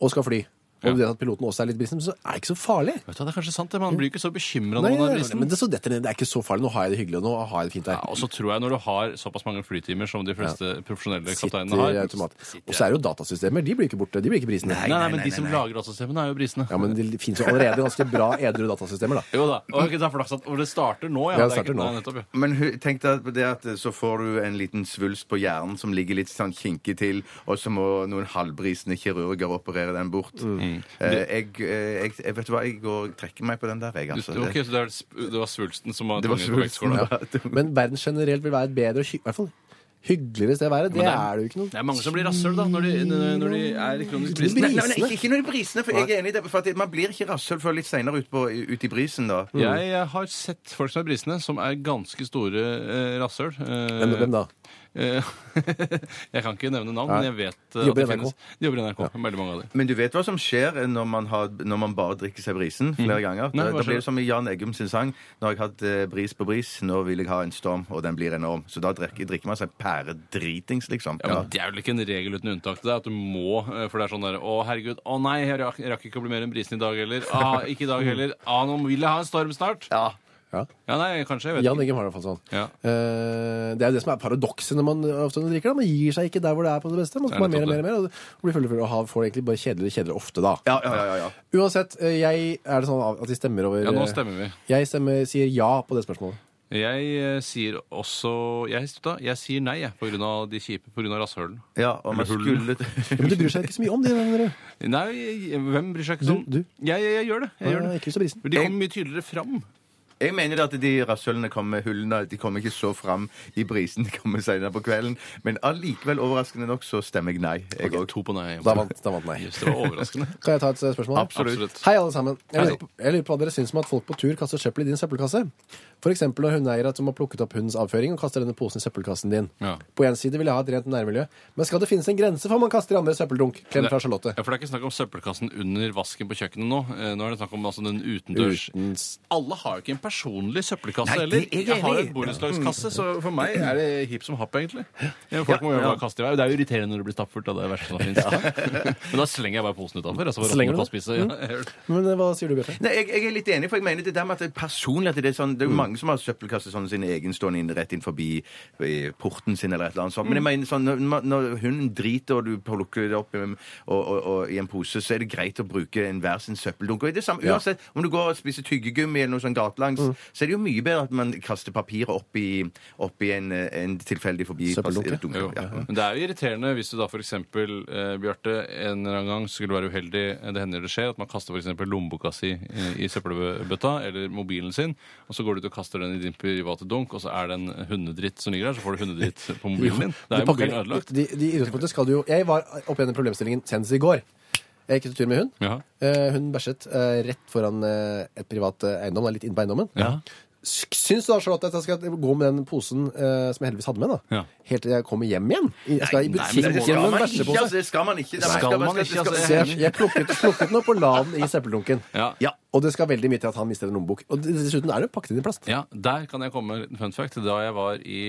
og skal fly, og
Ja.
du vet at piloten også er litt brisen, så er det ikke så farlig.
Vet du, hva, det er kanskje sant, det. Man blir jo ikke så bekymra
Nei,
når man
nei,
er
nei,
brisen.
men det, er så detter ned. det er ikke så farlig. Nå har jeg det hyggelig, og nå har jeg det fint
Ja,
her.
og så tror jeg når du har såpass mange flytimer som de fleste profesjonelle kapteinene
Sitter i
har
automat. Og så er det jo datasystemer. De blir ikke borte. De blir ikke brisene.
Nei, nei, men
nei,
de som
nei.
lager datasystemene, er jo brisene.
Ja, men det finnes jo allerede ganske bra edru datasystemer, da.
Jo da. Ok, det er flaks at og det starter nå, ja.
Ja, det
Det er ikke-
starter nå.
Nei, nettopp, ja.
Men hu- tenk deg på det at eh, så får du en liten svulst på hjernen som ligger litt sånn kinkig til, og så må noen halvbrisende kirurger operere den bort.
Mm.
Eh, jeg, eh, jeg, jeg vet du hva, jeg går trekker meg på den der, jeg,
Du,
altså.
ok, så det, er, sp- det var svulsten som var
Det var
tvungen på
svulsten,
vektskåla.
ja.
Men verden generelt vil være et bedre og hy- i hvert fall hyggeligere sted å være. Det
det er-
er det jo ikke
Det
noe.
er mange som blir rasshøl da, når de, når de er kronisk brisne.
Nei, nei, nei, ikke, ikke noe i brisene, for jeg er enig i det. For at man blir ikke rasshøl før litt seinere ut, på- ut i brisen, da.
Mm.
Jeg eh, har sett folk som er brisne, som er ganske store eh, rasshøl. Eh,
Hvem, hvem da?
eh, [laughs] jeg kan ikke nevne navn, men jeg vet eh,
De jobber
at det
i NRK.
finnes. De jobber i NRK. Veldig mange av dem.
Men du vet hva som skjer når man, har, når man bare drikker seg brisen flere ganger?
Mm. Nei, hva
da, da
skjer?
blir det som i Jan Eggum sin sang. Nå har jeg hatt eh, bris på bris, nå vil jeg ha en storm, og den blir enorm. Så da drikker, drikker man seg pæredritings, liksom.
Ja, men Det er vel ikke en regel uten unntak. Det er at du må, eh, for det er sånn der Å, herregud. Å nei, jeg rakk, jeg rakk ikke å bli mer enn brisen i dag
[laughs]
heller. Ah, ikke i dag heller. Ah, nå vil jeg ha en storm snart. Ja,
Ja.
nei, kanskje. Jeg vet
Jan
ikke.
Eggum har det i hvert fall sånn.
Ja.
Eh, det er jo det som er paradokset når man ofte drikker. Da. Man gir seg ikke der hvor det er på det beste. Man skal bare
Det er
mer og mer
nettopp
og mer, og blir full og full og har- får egentlig bare kjedeligere og kjedeligere ofte, da.
Ja, ja, ja, ja, ja.
Uansett, eh, jeg, er det sånn at de stemmer over
Ja, nå stemmer vi.
Jeg stemmer, sier ja på det spørsmålet.
Jeg eh, sier også Jeg, da, jeg sier nei, jeg, pga. de kjipe, pga. rasshølen.
ja og man skulle
Ja, men du bryr seg ikke så mye om det. Dere.
Nei, jeg- hvem bryr seg ikke sånn?
Du- du?
Jeg, jeg, jeg gjør det. Jeg gjør
Ja,
det.
ikke lyst til å brisen.
Men de kommer mye tydeligere fram.
[laughs] Jeg mener det at de rasshølene kommer med hullene. De kommer ikke så fram i brisen. De kommer senere på kvelden. Men allikevel, overraskende nok, så stemmer jeg nei. Jeg òg.
To på nei.
Da vant, da vant nei.
Yes, det var overraskende.
Kan jeg ta et eh, spørsmål?
Absolutt.
Hei, alle sammen. Jeg lurer, på, jeg lurer på hva dere syns om at folk på tur kaster søppel i din søppelkasse. For eksempel når hundeeiere som har plukket opp hundens avføring og kaster denne posen i søppelkassen din.
Ja.
På én side vil jeg ha et rent nærmiljø, men skal det finnes en grense for hva man kaster i andre søppeldunk? Klem fra Charlotte.
[laughs] Ja, for det er ikke snakk om søppelkassen under vasken på kjøkkenet nå. Eh, Nå er det snakk om altså, den utendørs. Alle har jo ikke en personlig søppelkasse
Nei,
heller.
det er jeg
Jeg har
enig i.
en borettslagskasse, så for meg er det hipp som happ, egentlig. Ja, folk må jo bare kaste i vei. Det er jo irriterende når du blir stappfullt, da. Det er det verste som finnes. Men da slenger jeg bare posen utafor. Altså,
Slenger du
slenger
den?
du spise. Ja, jeg gjør det.
Men eh, hva sier du, Bjarte?
Nei, jeg, jeg er litt enig, for jeg mener det der med at det er personlig at det er sånn Det er jo mange som har søppelkasser sånn sin egen stående inn rett inn forbi eh, porten sin eller et eller annet sånt. Men jeg mener sånn når, man- når hunden driter og du plukker det opp i, og, og, og, i en pose, så er det greit å bruke enhver sin søppeldunk. Og det er det samme,
Ja.
uansett om du går og spiser tyggegummi eller noe sånn gatelangs, så er det jo mye bedre at man kaster papiret opp i, opp i en, eh, en tilfeldig forbi
Søppeldunke?
dunke,
Jo,
ja. Mm.
Men det er jo irriterende hvis du da f.eks. Eh, Bjarte, en eller annen gang skulle være uheldig, eh, det hender det skjer, at man kaster f.eks. lommeboka si eh, i søppelbøtta eller mobilen sin, og så går du ut og kaster den i din private dunk, og så er det en hundedritt som ligger der, så får du hundedritt på mobilen din. Da er
Du
jo
pakker-
mobilen ødelagt.
De, de, i utgangspunktet skal du jo Jeg var oppe gjennom problemstillingen senest i går. Jeg gikk ut tur med hund.
Ja.
Eh, hun bæsjet eh, rett foran eh, et privat eh, eiendom. Det er litt inn på eiendommen.
Ja.
S- Syns du da, Charlotte, at jeg skal gå med den posen eh, som jeg heldigvis hadde med, da?
Ja.
Helt til jeg kommer hjem igjen? Jeg skal i
Nei, nei, men
Det
butikken
det
skal
med
man
en
ikke, altså.
bæsjepose.
Det skal man ikke. Det
Skal man ikke,
det
altså.
Så jeg, jeg plukket, plukket den opp og la den i søppeldunken.
Ja.
Ja.
Og det skal veldig mye til at han mister en lommebok. Og det- dessuten er det jo pakket inn i plast.
Ja, der kan jeg komme med en fun fact. Da jeg var i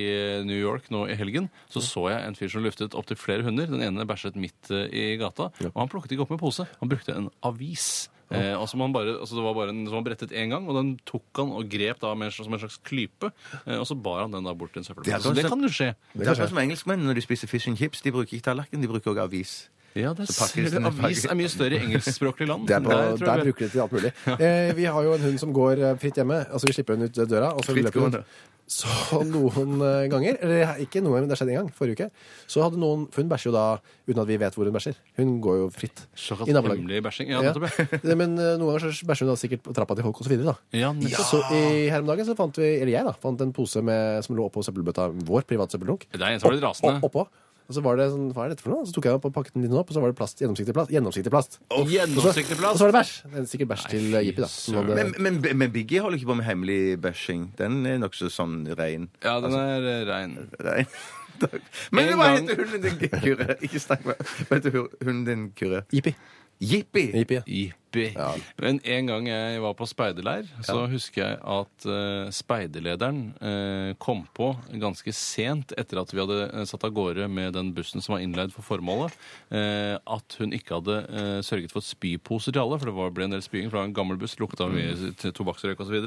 New York nå i helgen, så så jeg en fyr som luftet opptil flere hunder. Den ene bæsjet midt eh, i gata, og han plukket ikke opp med pose. Han brukte en avis. Eh, og som han bare, altså det var bare en som han brettet én gang, og den tok han og grep da med en slags, som en slags klype. Eh, og så bar han den da bort til en
Det er
søppelplass. Så det
kanskje-
kan jo skje.
Det er sånn som engelskmenn når de spiser fish and chips. De bruker ikke tallerken, de bruker også avis.
Ja, det
Så pakkes
ser du.
den i
Avis
pakke.
er mye større i engelskspråklige land.
Det er på,
Der
der,
tror jeg vi-
bruker de til alt mulig. Eh, vi har jo en hund som går eh, fritt hjemme. Altså Vi slipper henne ut døra, og så
Fritt
løper hun.
gående.
Så noen eh, ganger, eller ikke noen, men det skjedde en gang, forrige uke, så hadde noen For hun bæsjer jo da uten at vi vet hvor hun bæsjer. Hun går jo fritt i
Såkalt
nabolaget.
hemmelig bæsjing. Ja,
Ja.
nettopp, ja.
Det- Men eh, noen ganger så bæsjer hun da sikkert på trappa til folk og så videre, da.
Ja, nettopp.
Så i, her om dagen så fant vi, eller jeg da, fant en pose med, som lå oppå søppelbøtta vår, privat søppeldunk.
Det er en som har blitt rasende.
Opp- Oppå. Og så var det sånn, hva er dette for noe? Så tok jeg opp og pakket den litt opp, og så var det plast, gjennomsiktig plast. Gjennomsiktig plast.
Gjennomsiktig
Og
plass.
så var det bæsj. Det er Sikkert bæsj til
fy
Jippi, da. som
søren.
hadde-
Men, men, men Biggie holder ikke på med hemmelig bashing. Den er nokså sånn rein.
Ja, den er eh, rein.
Rein. [laughs] Takk. Men
En
hva
gang-
heter hunden din, Kyrre? [laughs] Ikke snakk med Hva heter hu- hunden din, Kyrre?
Jippi.
Jippi!
Jippi, ja.
Jippi. Men en gang jeg var på speiderleir, så husker jeg at eh, speiderlederen eh, kom på ganske sent etter at vi hadde eh, satt av gårde med den bussen som var innleid for formålet, eh, at hun ikke hadde eh, sørget for spyposer til alle, for det var, ble en del spying fra en gammel buss, lukta mye
Mm.
t- tobakksrøyk osv.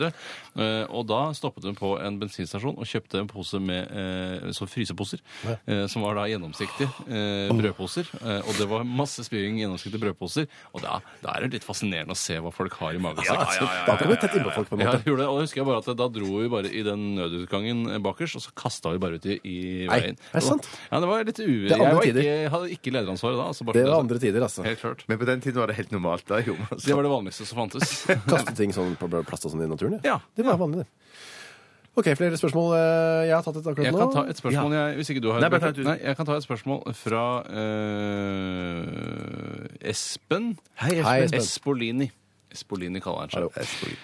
Uh, og da stoppet hun på en bensinstasjon og kjøpte en pose med eh, så fryseposer, eh, som var da gjennomsiktige eh, brødposer. Eh, og det var masse spying i gjennomsiktige brødposer. Og da, da er det litt fascinerende å se hva folk har i magesekken.
Da kom vi tett innpå folk, på en
Ja,
måte.
jeg gjorde det, og jeg husker jeg bare at Da dro vi bare i den nødutgangen eh, bakerst, og så kasta vi bare ut i, i
Nei,
veien.
er det sant?
Ja, det var litt u...
er
Jeg
andre
var
tider.
ikke, hadde ikke lederansvaret da. Altså bare
Det
for
var
det,
andre tider, altså.
Helt klart.
Men på den tiden var det helt normalt. Da, jo, altså.
Det var det vanligste som fantes.
[laughs] Kaste ting sånn på plast og sånn i naturen,
Ja.
Det var vanlig, det. OK, flere spørsmål eh, jeg har tatt et akkurat nå.
Jeg kan ta et spørsmål, jeg, hvis ikke du har
Nei,
et
bare ta
Bjarte.
et ut.
Nei, jeg kan ta et spørsmål fra eh, Espen.
Hei, Espen.
Hei, Espen.
Espolini. Espolini kaller han seg.
Hallo.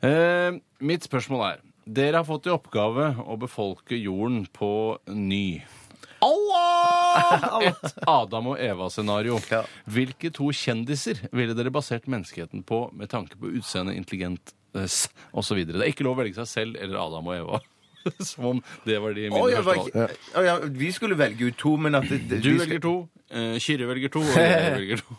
Eh, mitt spørsmål er Dere har fått i oppgave å befolke jorden på ny. [laughs] Et Adam og Eva-scenario.
Ja.
Hvilke to kjendiser ville dere basert menneskeheten på med tanke på utseende, eh, intelligent osv.? Det er ikke lov å velge seg selv eller Adam og Eva. [laughs] Som om det var de mine
Å, ja,
første
var
valg.
ikke- Å, ja, vi skulle velge ut to, men at det, det,
Du
vi
velger
skal-
to, eh, Kyrre velger
[laughs]
to, og jeg velger to. [laughs]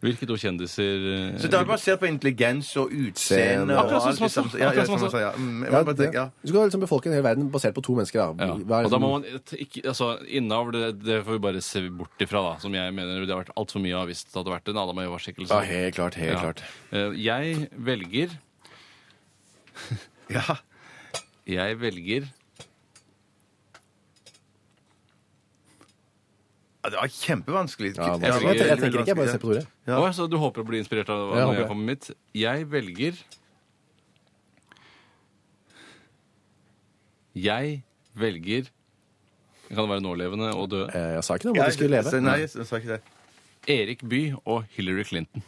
Hvilke to kjendiser eh,
Så det er basert på intelligens og utseende og alt
Akkurat som
det
Svassvold.
samme. Ja, ja,
Akkurat som
som han sa, ja. Mm, jeg
Ja,
må bare tenke, ja.
det- Du skal liksom befolke en hel verden basert på to mennesker, da.
Ja.
Hva er
Og da må
liksom-
man et- ikke, altså Innavl det, det får vi bare se bort ifra, da. Som jeg mener det har vært altfor mye av hvis det hadde vært en Adam og Eva-skikkelse.
Ja, helt klart. Helt
Ja.
klart.
Eh, Jeg velger
ja.
Jeg velger
Ja, Det var kjempevanskelig.
Ja, hva- jeg, jeg tenker ikke, jeg bare ser på Tore.
Ja.
Å, Så du håper å bli inspirert av
Jeg
hva
håper
jeg
det.
kommer med mitt? Jeg velger Jeg velger Kan det være nålevende og døde?
Eh, Jeg sa ikke noe om at de skulle leve.
Nei, jeg sa ikke det.
Erik Bye og Hillary Clinton.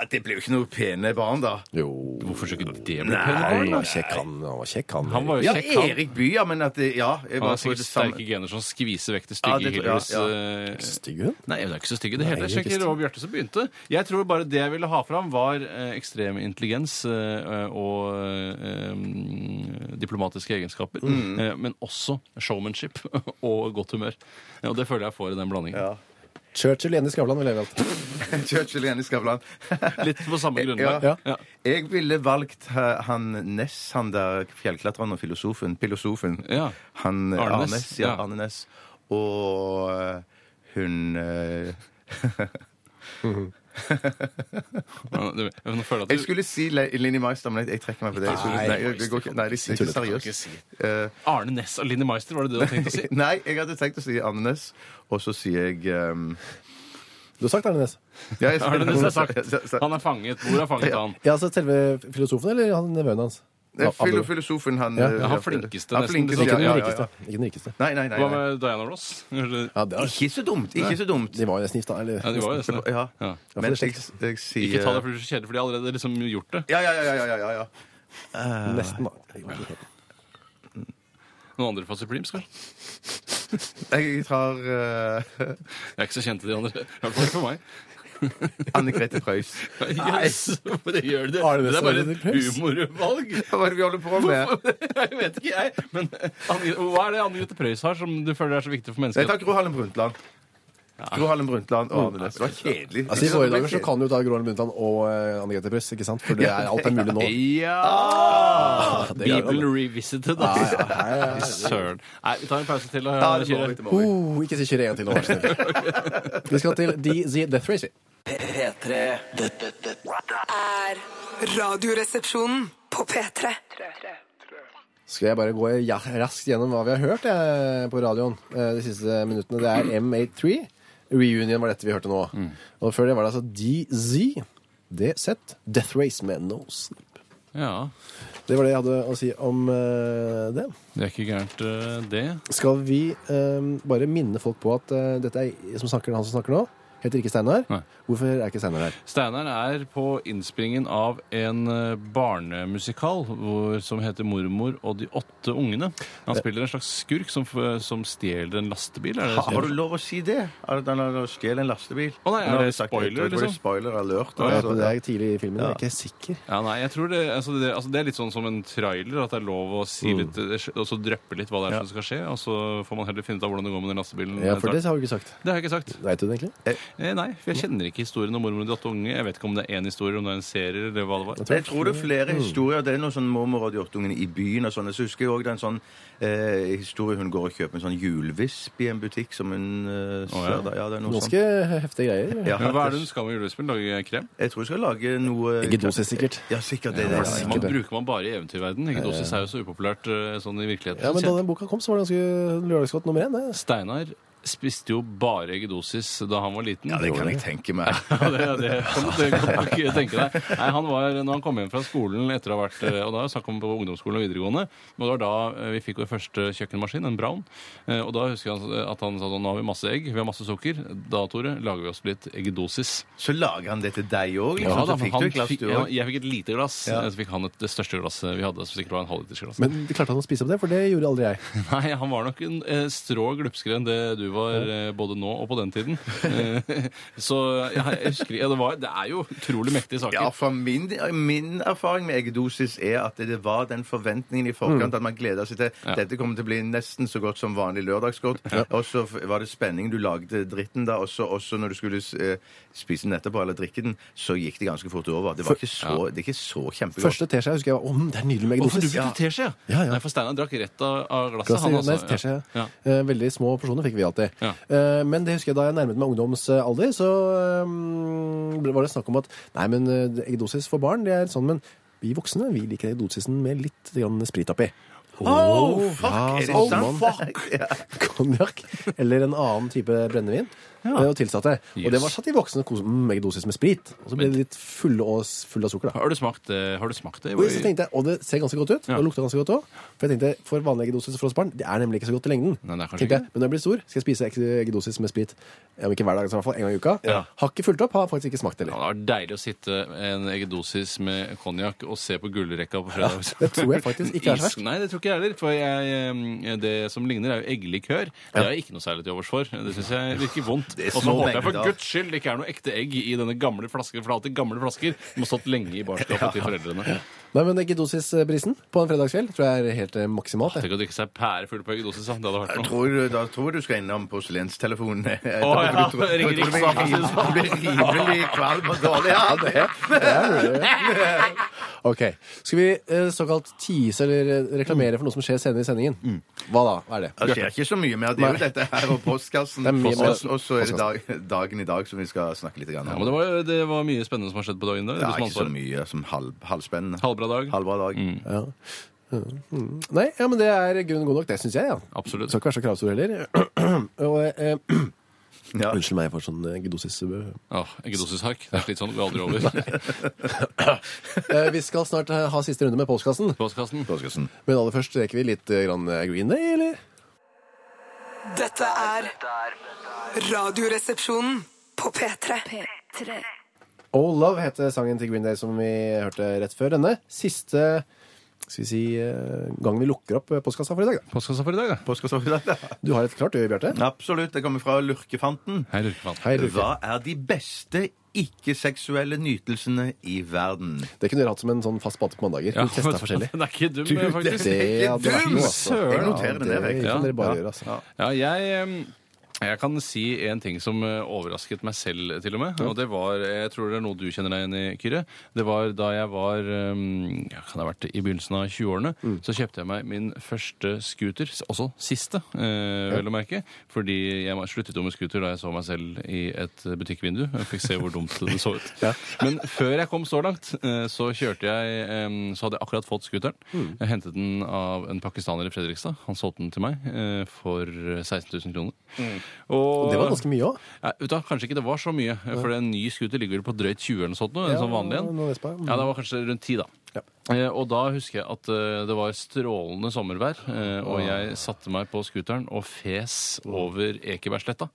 Ja, det blir jo ikke noe pene barn, da.
Jo.
Hvorfor skulle ikke det bli pene
Nei.
barn?
Han var kjekk, han. Han var kjekk, han.
Han var jo
Ja,
kjekk, han.
Erik Bye, ja, men at det, Ja. Jeg
Han
bare
har
tror
sikkert
det samme.
sterke gener som skviser vekk
Ja,
det stygge
det tror-
Hillarys
ja,
eh,
Stygg hun.
Nei, hun er ikke så stygg i det hele.
Nei,
Jeg sjekker
visst.
over Bjarte som begynte. Jeg tror bare det jeg ville ha fram, var eh, ekstrem intelligens eh, og eh, mm, diplomatiske egenskaper.
Mm.
Eh, men også showmanship [laughs] og godt humør. Ja, og det føler jeg får i den blandingen.
Ja.
Churchill igjen i Skavlan vil leve alt.
[laughs] Churchill igjen i Skavlan.
Litt på samme grunnlag.
Ja.
Ja.
Jeg ville valgt eh, han Ness, han der fjellklatreren og filosofen. Pilosofen.
Ja.
Han, eh,
Arne
Arne
Næss,
Næss. Ja,
ja.
Arne Næss.
Altså-
Og eh, hun eh,
Men det- men nå føler jeg at du-
Jeg skulle si Le- Linni Meister, men jeg- jeg trekker meg på det. Jeg skulle,
Nei,
nei, det går ikke, nei, det er ikke seriøst. Eh,
Arne Næss og Linni Meister, var det det du hadde tenkt å si?
nei, jeg hadde tenkt å si Anne Næss, og så sier jeg um,
Du har sagt Arne Næss.
ja, jeg-
Arne Næss er sagt. Han er fanget. Hvor er fanget han?
Ja, altså selve filosofen eller han nevøen hans?
Det er filo-
Abdul.
Filosofen, han
Ja.
eh,
Han flinkeste,
Han
nesten.
flinkeste,
Ikke
ja,
den
ja, ja,
rikeste.
ja.
Ikke den rikeste.
Nei, nei, nei.
Hva
nei.
med Diana Ross? Ja,
Ja, det var,
Ikke så dumt. Ikke så dumt.
de var jo nesten gift, da. Eller,
de var jo nesten det.
Ja. eh,
Ja.
Men
det er
jeg, jeg sier
Ikke ta det fordi det er så kjedelig, for de har allerede liksom gjort det.
Ja, ja, ja. ja, ja, ja, ja.
nesten, da. Det var ikke helt-
Noen andre fasiplims, kanskje?
Jeg tar eh, [laughs]
Jeg er ikke så kjent til de andre. I hvert fall ikke for meg.
Anne Grete Preus.
[laughs] Yes, hvorfor gjør du det?
Arne Næss
Det er
og
bare
Linni
et
Meister.
humorvalg. [laughs]
Hva er det vi holder på med?
Jeg vet ikke, jeg. Men Anne- hva er det Anne Grete Preus har som du føler er så viktig for
Jeg
mennesker?
tar Gro Harlem Brundtland. Gro Harlem Brundtland og Arne Næss. Det var kjedelig.
Altså, I våre dager så kan du ta Gro Harlem Brundtland og eh, Anne Grete Preus, ikke sant? For det er alt er mulig nå. Ah,
Ja!
Det er jo
Bibelen
det.
revisited,
Ja,
altså.
ja, ja, ja,
[laughs]
ja.
Søren. Nei, vi tar en pause til.
Ja,
Ja,
det må vi, det må vi.
Oh, ikke si kjøre en gang til nå, vær så snill. Vi skal til DZ Death Race.
P3 Dette, dette
Er radioresepsjonen på P3.
Skal jeg bare gå ja- raskt gjennom hva vi har hørt eh, på radioen eh, de siste minuttene. Det er M83. Reunion var dette vi hørte nå. Og før det var det altså DZ. DZ. Death Race med No Sleep.
ja,
Det var det jeg hadde å si om eh, det.
det er ikke gærent, eh, det.
Skal vi eh, bare minne folk på at eh, dette er som snakker, han som snakker nå, heter ikke Steinar.
Nei.
Hvorfor er ikke Steinar her?
Steinar er på innspillingen av en eh, barnemusikal hvor, som heter 'Mormor og de åtte ungene'. Han spiller en slags skurk som, f- som stjeler en lastebil. Er det
Ha, har
det som-
du lov å si det? At han har stjålet en lastebil?
Å nei, er
Nå har
det
vi sagt-
spoiler,
jeg tror Det
liksom?
er spoiler alert.
Å, ja,
altså.
Det er tidlig i filmen, jeg
Ja.
er ikke sikker.
ja, nei, jeg tror det, altså det, altså det er litt sånn som en trailer, at det er lov å
Mm.
si litt, eh, og så drøppe litt hva det er som skal skje, og så får man heller finne ut av hvordan det går med den lastebilen.
Ja, for
etter
det
hvert.
har du ikke sagt.
det har jeg ikke sagt.
Vet du det egentlig?
Eh, nei, for jeg kjenner ikke historien om 'Mormor og de åtte unge'. Jeg vet ikke om det er én historie, om det er en serie, eller hva det var.
Jeg tror det er flere
Mm.
historier. Det er noen sånn mormor og de åtte ungene i byen. og sånn. Så husker jeg også det er en sånn eh, historie hun går og kjøper en sånn hjulvisp i en butikk som hun eh, ser
ja.
der. Ja, det er noe
Ganske heftige greier.
sånt. Ja,
Men hva er det hun
det-
skal med julespill? Lage krem?
Jeg tror hun skal lage noe eh,
Ikke dosis, sikkert.
Ja, sikkert det.
Ja,
det,
det er
ja, ja.
Man
det.
bruker man bare i eventyrverden. Ikke dosis er jo så upopulært eh, sånn i virkeligheten.
Ja, men
Så
Da
jeg-
den boka kom, så var det ganske lørdagsgodt nummer én. det.
Steinar spiste jo bare eggedosis da han var liten.
Ja, det kan jeg tenke meg.
[laughs] Ja, det, det kan du godt nok tenke deg. Nei, han var, når han kom hjem fra skolen etter å ha vært eh, Og da er det snakk om på ungdomsskolen og videregående. Men det var da eh, vi fikk vår første kjøkkenmaskin, en Brown. Eh, Og da husker jeg at han sa sånn Nå har vi masse egg, vi har masse sukker. Da, Tore, lager vi oss litt eggedosis.
Så lager han det til deg òg. Liksom.
Ja, da,
så fikk
han
du et glass,
fikk-
du
ja,
òg.
jeg fikk et lite glass. eh, Så fikk han et, det største glasset vi hadde, som sikkert var en halvliters glass.
Men klarte han å spise opp det? For det gjorde aldri jeg.
Nei, han var nok en eh, strå glupskere enn det du var eh, både nå og på den tiden. Eh, så jeg, jeg husker ja, det, var, det er jo utrolig mektige saker.
Ja, for min, min erfaring med eggedosis er at det var den forventningen i forkant at man gleda seg til dette kommer til å bli nesten så godt som vanlig lørdagsgodt. Og så f- var det spenning. Du lagde dritten da, og så også når du skulle s- eh, spise den etterpå eller drikke den, så gikk det ganske fort over. Det var ikke så, det er ikke så kjempegodt.
Første teskje husker jeg var Å, det er nydelig med
Å, for du
eggedosis.
brukte teskje, ja.
Ja, ja.
Nei, for Steinar drakk rett av, av glasset.
Glass i-
han, altså.
nei, teskje.
Ja.
Eh, Veldig små porsjoner fikk vi alltid.
Ja.
Eh, Men det husker jeg da jeg nærmet meg ungdomsalder, så eh, ble- var det snakk om at nei, men eh, eggedosis for barn, det er sånn, men vi voksne vi liker eggedosisen med litt grann sprit oppi. [laughs]
Oh, fuck!
ja,
er det
så
sant?
man-
[laughs]
konjakk eller en annen type brennevin eh, og tilsatte. Og det var satt i voksne kos mm, med eggedosis med sprit. Og så ble det litt fulle og s- full av sukker, da.
Har du smakt det? Har du smakt det?
Og så tenkte jeg, og det ser ganske godt ut,
Ja.
og lukter ganske godt òg. For jeg tenkte, for vanlig eggedosis for oss barn, det er nemlig ikke så godt i lengden.
Nei, det er kanskje
Tenkte jeg, men når jeg blir stor, skal jeg spise ek- eggedosis med sprit. Om ikke hver dag, så i hvert fall en gang i uka.
Ja.
Har ikke fulgt opp, har faktisk ikke smakt
Ja,
heller.
det var deilig å sitte en eggedosis med konjakk og se på gullrekka på fredag.
det tror jeg faktisk ikke er så verst.
Is- Nei, det tror ikke jeg heller. For jeg, eh, det som ligner, er jo eggelikør. Det har jeg ikke noe særlig til overs for. Det syns jeg virker vondt.
Det er
Og så
små
håper jeg for
mengder.
guds skyld det ikke er noe ekte egg i denne gamle flasken, for det er alltid gamle flasker som har stått lenge i barskapet til foreldrene.
Nei, men eggedosisprisen på en fredagskveld tror jeg er helt eh, maksimalt. jeg.
Tenk å drikke seg pærefull på eggedosis, da. Det hadde vært
Jeg
noe.
tror, du- da tror jeg du skal innom porselenstelefonen. [laughs]
ja,
Da tror- da tror
ringer
jeg du blir-
Riksaken, synes
[laughs]
Ah,
Du blir rimelig kvalm og dårlig av det.
Det er mulig. Ok. Skal vi eh, såkalt tease eller eh, reklamere for noe som skjer senere i sendingen?
Mm.
Hva da? Hva er det?
Det skjer ikke så mye mer. Det er jo dette her og postkassen.
[laughs] Det er mye mer.
Og og så er det dag, dagen i dag som vi skal snakke litt grann om.
Ja, men det var, det var mye spennende som har skjedd på dagen i dag.
Ja,
du som
ikke så
ansvarer.
mye som halv, halvspennende.
Halvbra dag.
Halvbra dag.
Ja. Mm. Nei, ja, men det er grunn god nok, det syns jeg, ja.
Absolutt.
Skal ikke være så kravstor heller. [clears throat] Og, eh, [clears throat]
Ja.
unnskyld meg for sånn eh, gdosis. eh,
Åh, eggedosishark. Det er litt sånn, det går aldri
[laughs]
over.
Eh, vi skal snart eh, ha siste runde med postkassen,
Postkassen.
Påskelsen.
men aller først rekker vi litt eh, grann eh, Green Day, eller?
Dette er Radioresepsjonen på P3.
P3.
Oh Love heter sangen til Green Day som vi hørte rett før denne. Siste skal vi si, eh, gang vi lukker opp eh, postkassa for i dag. Da.
Postkassa for i dag, da.
[laughs] Du har et klart øye, Bjarte.
Absolutt. Det kommer fra Lurkefanten.
Hei, lurkemann.
Hei, Lurke.
Hva er de beste ikke-seksuelle nytelsene i verden?
Det kunne dere hatt som en sånn fast spalte på mandager.
Ja,
vi testa
men- [laughs]
forskjellig.
Den er ikke dum,
Du,
faktisk.
Det hadde vært noe, altså.
Søren! Jeg
Ja,
noterer det
det
ned, jeg.
kan dere bare
Ja.
gjøre, altså.
Ja, jeg, em, jeg kan si en ting som eh, overrasket meg selv, til og med. Og det var, eh, jeg tror det er noe du kjenner deg igjen i, Kyrre. Det var da jeg var em, ja, kan det ha vært i begynnelsen av 20-årene, så kjøpte jeg meg min første scooter. s- Også siste, eh, vel å merke. Fordi jeg var- sluttet jo med scooter da jeg så meg selv i et butikkvindu. Jeg fikk se hvor dumt det
[laughs]
så ut. Men før jeg kom så langt, eh, så kjørte jeg em, Så hadde jeg akkurat fått scooteren.
Mm.
Jeg hentet den av en pakistaner i Fredrikstad. Han solgte den til meg eh, for 16 000 kroner. Og,
Mm. Det var ganske mye òg.
Nei, vet du, hva, kanskje ikke det var så mye, eh, for en ny scooter ligger vel på drøyt 20 eller noe sånt nå, en
Ja,
sånn vanlig en.
nå vet jeg. Mm.
Ja, det var kanskje rundt 10 da.
Ja.
Eh, Og da husker jeg at eh, det var strålende sommervær, eh, og jeg satte meg på scooteren og fes over Ekebergsletta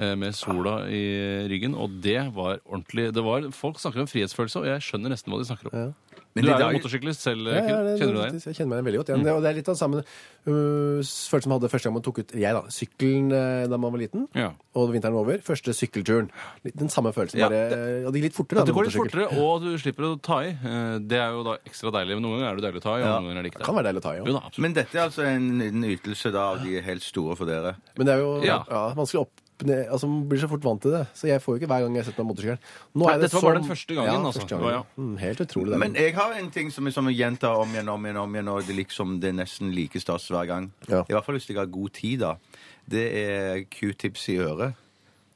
eh, med sola i ryggen, og det var ordentlig. Det var, folk snakker om frihetsfølelse, og jeg skjønner nesten hva de snakker om.
Men
Du
i
er
dag-
jo motorsyklist selv,
Ja, ja,
Kyrre.
det-
kjenner du deg igjen? Mm.
faktisk, Jeg kjenner meg veldig godt igjen. Det, og det er litt av samme øh, følelse som jeg hadde første gang man tok ut jeg da, sykkelen eh, da man var liten.
Ja.
Og vinteren var over. Første sykkelturen. Litt- Den samme følelsen.
Ja,
bare, og det gikk litt fortere. da,
Det
med
går litt
motorsykkel.
fortere, og du slipper å ta i. Eh, Det er jo da ekstra deilig. men Noen ganger er det deilig å ta i, og noen ganger er det ikke
Det kan
det.
være deilig å ta i. Ja.
Jo da, absolutt.
Men dette er altså en, en ytelse da av de helt store for dere.
Men det er jo ja.
Ja.
vanskelig å opp... ned- Altså, Man blir så fort vant til det. Så jeg får jo ikke hver gang jeg setter meg på motorsykkelen. Nå er
Nei,
sånn-
dette var bare den første gangen,
Ja,
altså.
første gangen.
Å, ja.
Mm, helt utrolig. Det.
Men jeg har en ting som jeg som jeg gjentar om igjen om igjen, om igjen og det, liksom, det er nesten like stas hver gang.
Ja.
I hvert fall hvis jeg har god tid, da. Det er q-tips i øret.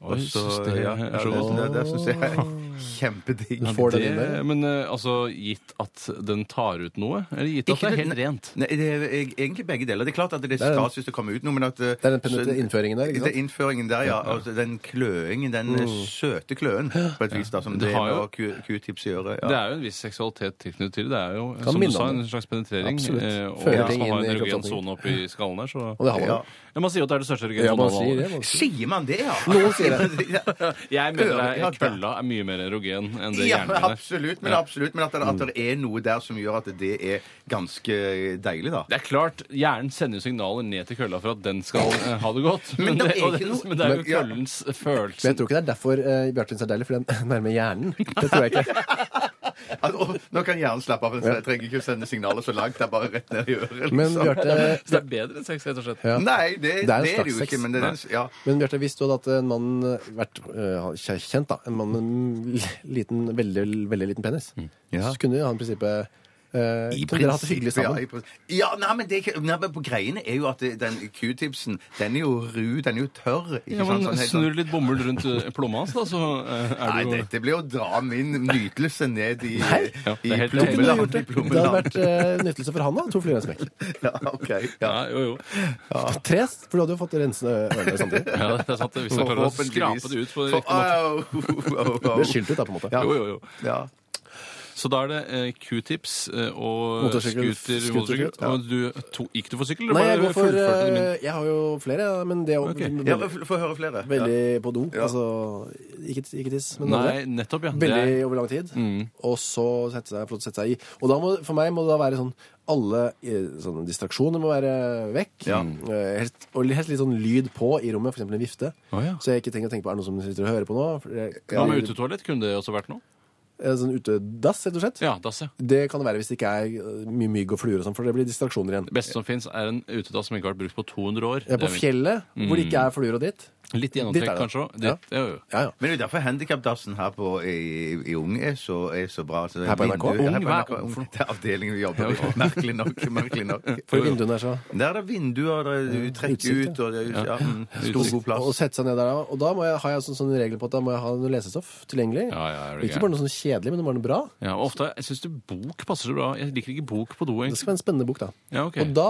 Oi,
Og så-
synes det er-
ja, ja,
er så
det-
godt.
det- Det syns jeg er kjempedigg.
Du får den inn der.
Det, men eh, altså, gitt at den tar ut noe? Eller gitt at
Ikke
det er
den-
helt rent?
Nei, det er eg- egentlig begge deler. Det er klart at det er
er den-
stas hvis det kommer ut noe, men at Det
er den penetre- innføringen der, ikke sant? Mm.
Det er innføringen der, ja. Altså, den kløingen, den eh, søte kløuen, på et vis, da, som
Det
det,
har
med
jo-
å q- q-tips i øret.
Det
Ja.
er jo en viss seksualitet tilknyttet til det. Det er jo,
Kan
som du
minne
sa,
om
en
det.
slags penetrering.
Absolutt.
eh, Og
Fører
hvis
ting
man har
inn
en
i
erogen
kroppsåpningen.
sone oppi skallen der, så
Og det har man
Ja.
jo.
ja, Man sier jo at det er det største erogen
Ja, man
av
sier det.
alle.
Man sier.
Sier man det, ja?
Noen sier
det.
Jeg mener det
[laughs] Ja,
er,
det-
kølla er mye mer erogen enn det
Ja,
hjernen
men
min er.
absolutt. Men, absolutt, men at, det, at det er noe der som gjør at det er ganske deilig, da.
Det er klart, Hjernen sender jo signaler ned til kølla for at den skal eh, ha det godt.
Men det er
og
ikke noe-
men det er jo
Men- ja.
køllens
Men
følelse.
jeg tror ikke det er derfor uh, Bjarte syns det er deilig, for den [laughs] er nærme hjernen. Det tror jeg ikke.
[laughs]
At, å, nå kan hjernen slappe av. Jeg trenger ikke å sende signaler så langt. Det er bare rett ned i øret. Liksom.
Men Bjarte,
Så det er bedre enn sex, rett og slett.
Ja.
Nei, det,
Det er en
det er det
slags
jo ikke.
sex.
Men det er den, ja.
men Bjarte, hvis du hadde hatt en mann eh, vært eh, kj- kjent, da, en mann med en l- liten, veldig, veldig liten penis,
Ja.
så kunne han i prinsippet eh,
I
Kunne dere hatt det hyggelig
prinsippet,
sammen?
Ja, i prinsipp- ja nei, men, det, er ikke- nei, men på greiene er jo at det, den Q-tipsen, den er jo ru, den er jo tørr. Ikke
Ja, men
sant? Sånn helt sånn-
Snurr litt bomull rundt eh, plomma hans, da, så eh, er
Nei,
du jo
dette blir å dra min nytelse ned i,
Ja, det
i
er helt-
Du kunne
plommeland.
gjort det.
i
Det
plommeland.
hadde vært eh, nyttelse for han, da. To fluer i en smekk.
[laughs] ja, ok, ja.
Ja, jo, jo.
Tre, for du hadde jo fått rensende ørene samtidig.
Ja, det er sant. det. Hvis jeg klarer å skrape det ut på
For-
riktig måte.
Au,
[laughs]
au, au.
Du er skilt ut, da, på en måte.
Ja.
Jo, jo, jo.
Ja.
Så da er det eh, Q-tips eh, og
Motorsykkel,
scooter.
scooter,
motorsykkel.
ja.
Og du, to, gikk du for sykkel?
Nei,
eller
jeg
bare
går for
fullførte du
eh,
min?
Jeg har jo flere, ja, men det er jo
Ok.
Ja,
veldig,
Få få høre flere.
veldig på do.
Ja.
Altså ikke, ikke tiss, men
Nei,
andre.
nettopp, ja. Det er- Mm.
Veldig over lang tid. Og så sette seg, få sette seg i. Og da må, for meg må det da være sånn alle eh, sånne distraksjoner må være vekk.
Ja.
Eh, Helst, og helst litt sånn lyd på i rommet, f.eks. en vifte.
Å, ja.
Så jeg ikke trenger å tenke på er det noe som sitter og hører på nå. For jeg,
Hva med utetoalett? Kunne det også vært noe?
En sånn utedass, rett og slett.
Ja, dass, ja.
Det kan det være hvis det ikke er eh, mye mygg og fluer, og sånn, for det blir distraksjoner igjen.
Det beste som fins, er en utedass som ikke har vært brukt på 200 år.
Jeg er på
Det er Mm. min-
fjellet, hvor det ikke er fluer og dritt.
Litt
Dit
gjennomtrekk,
er det.
kanskje òg.
Ja. Ja, ja.
Men det er jo derfor handikapdassen her på, i, i Ung er så, er så bra. Så
Her på NRK?
vinduet-
Ung,
her på
hva er
NRK,
Ung for noe?
Det er avdelingen vi jobber i. [laughs] Merkelig nok. merkelig
[laughs]
nok.
For vinduene er så
Der er det vinduer, der er du trekker
Utsikt,
ut, og det er ja, mm, stor,
[laughs] Utsikt.
god
Og
plass.
sette seg ned der da. Og da må jeg, har jeg sånne, sånne regler på at da må jeg ha noe lesestoff tilgjengelig.
Ja, ja, er det
ikke
gøy.
bare noe sånn kjedelig, men det må være noe bra.
Ja, og ofte, Jeg syns bok passer så bra. Jeg liker ikke bok på do.
Det
egentlig.
skal være en spennende bok, da.
Ja, ok.
Og da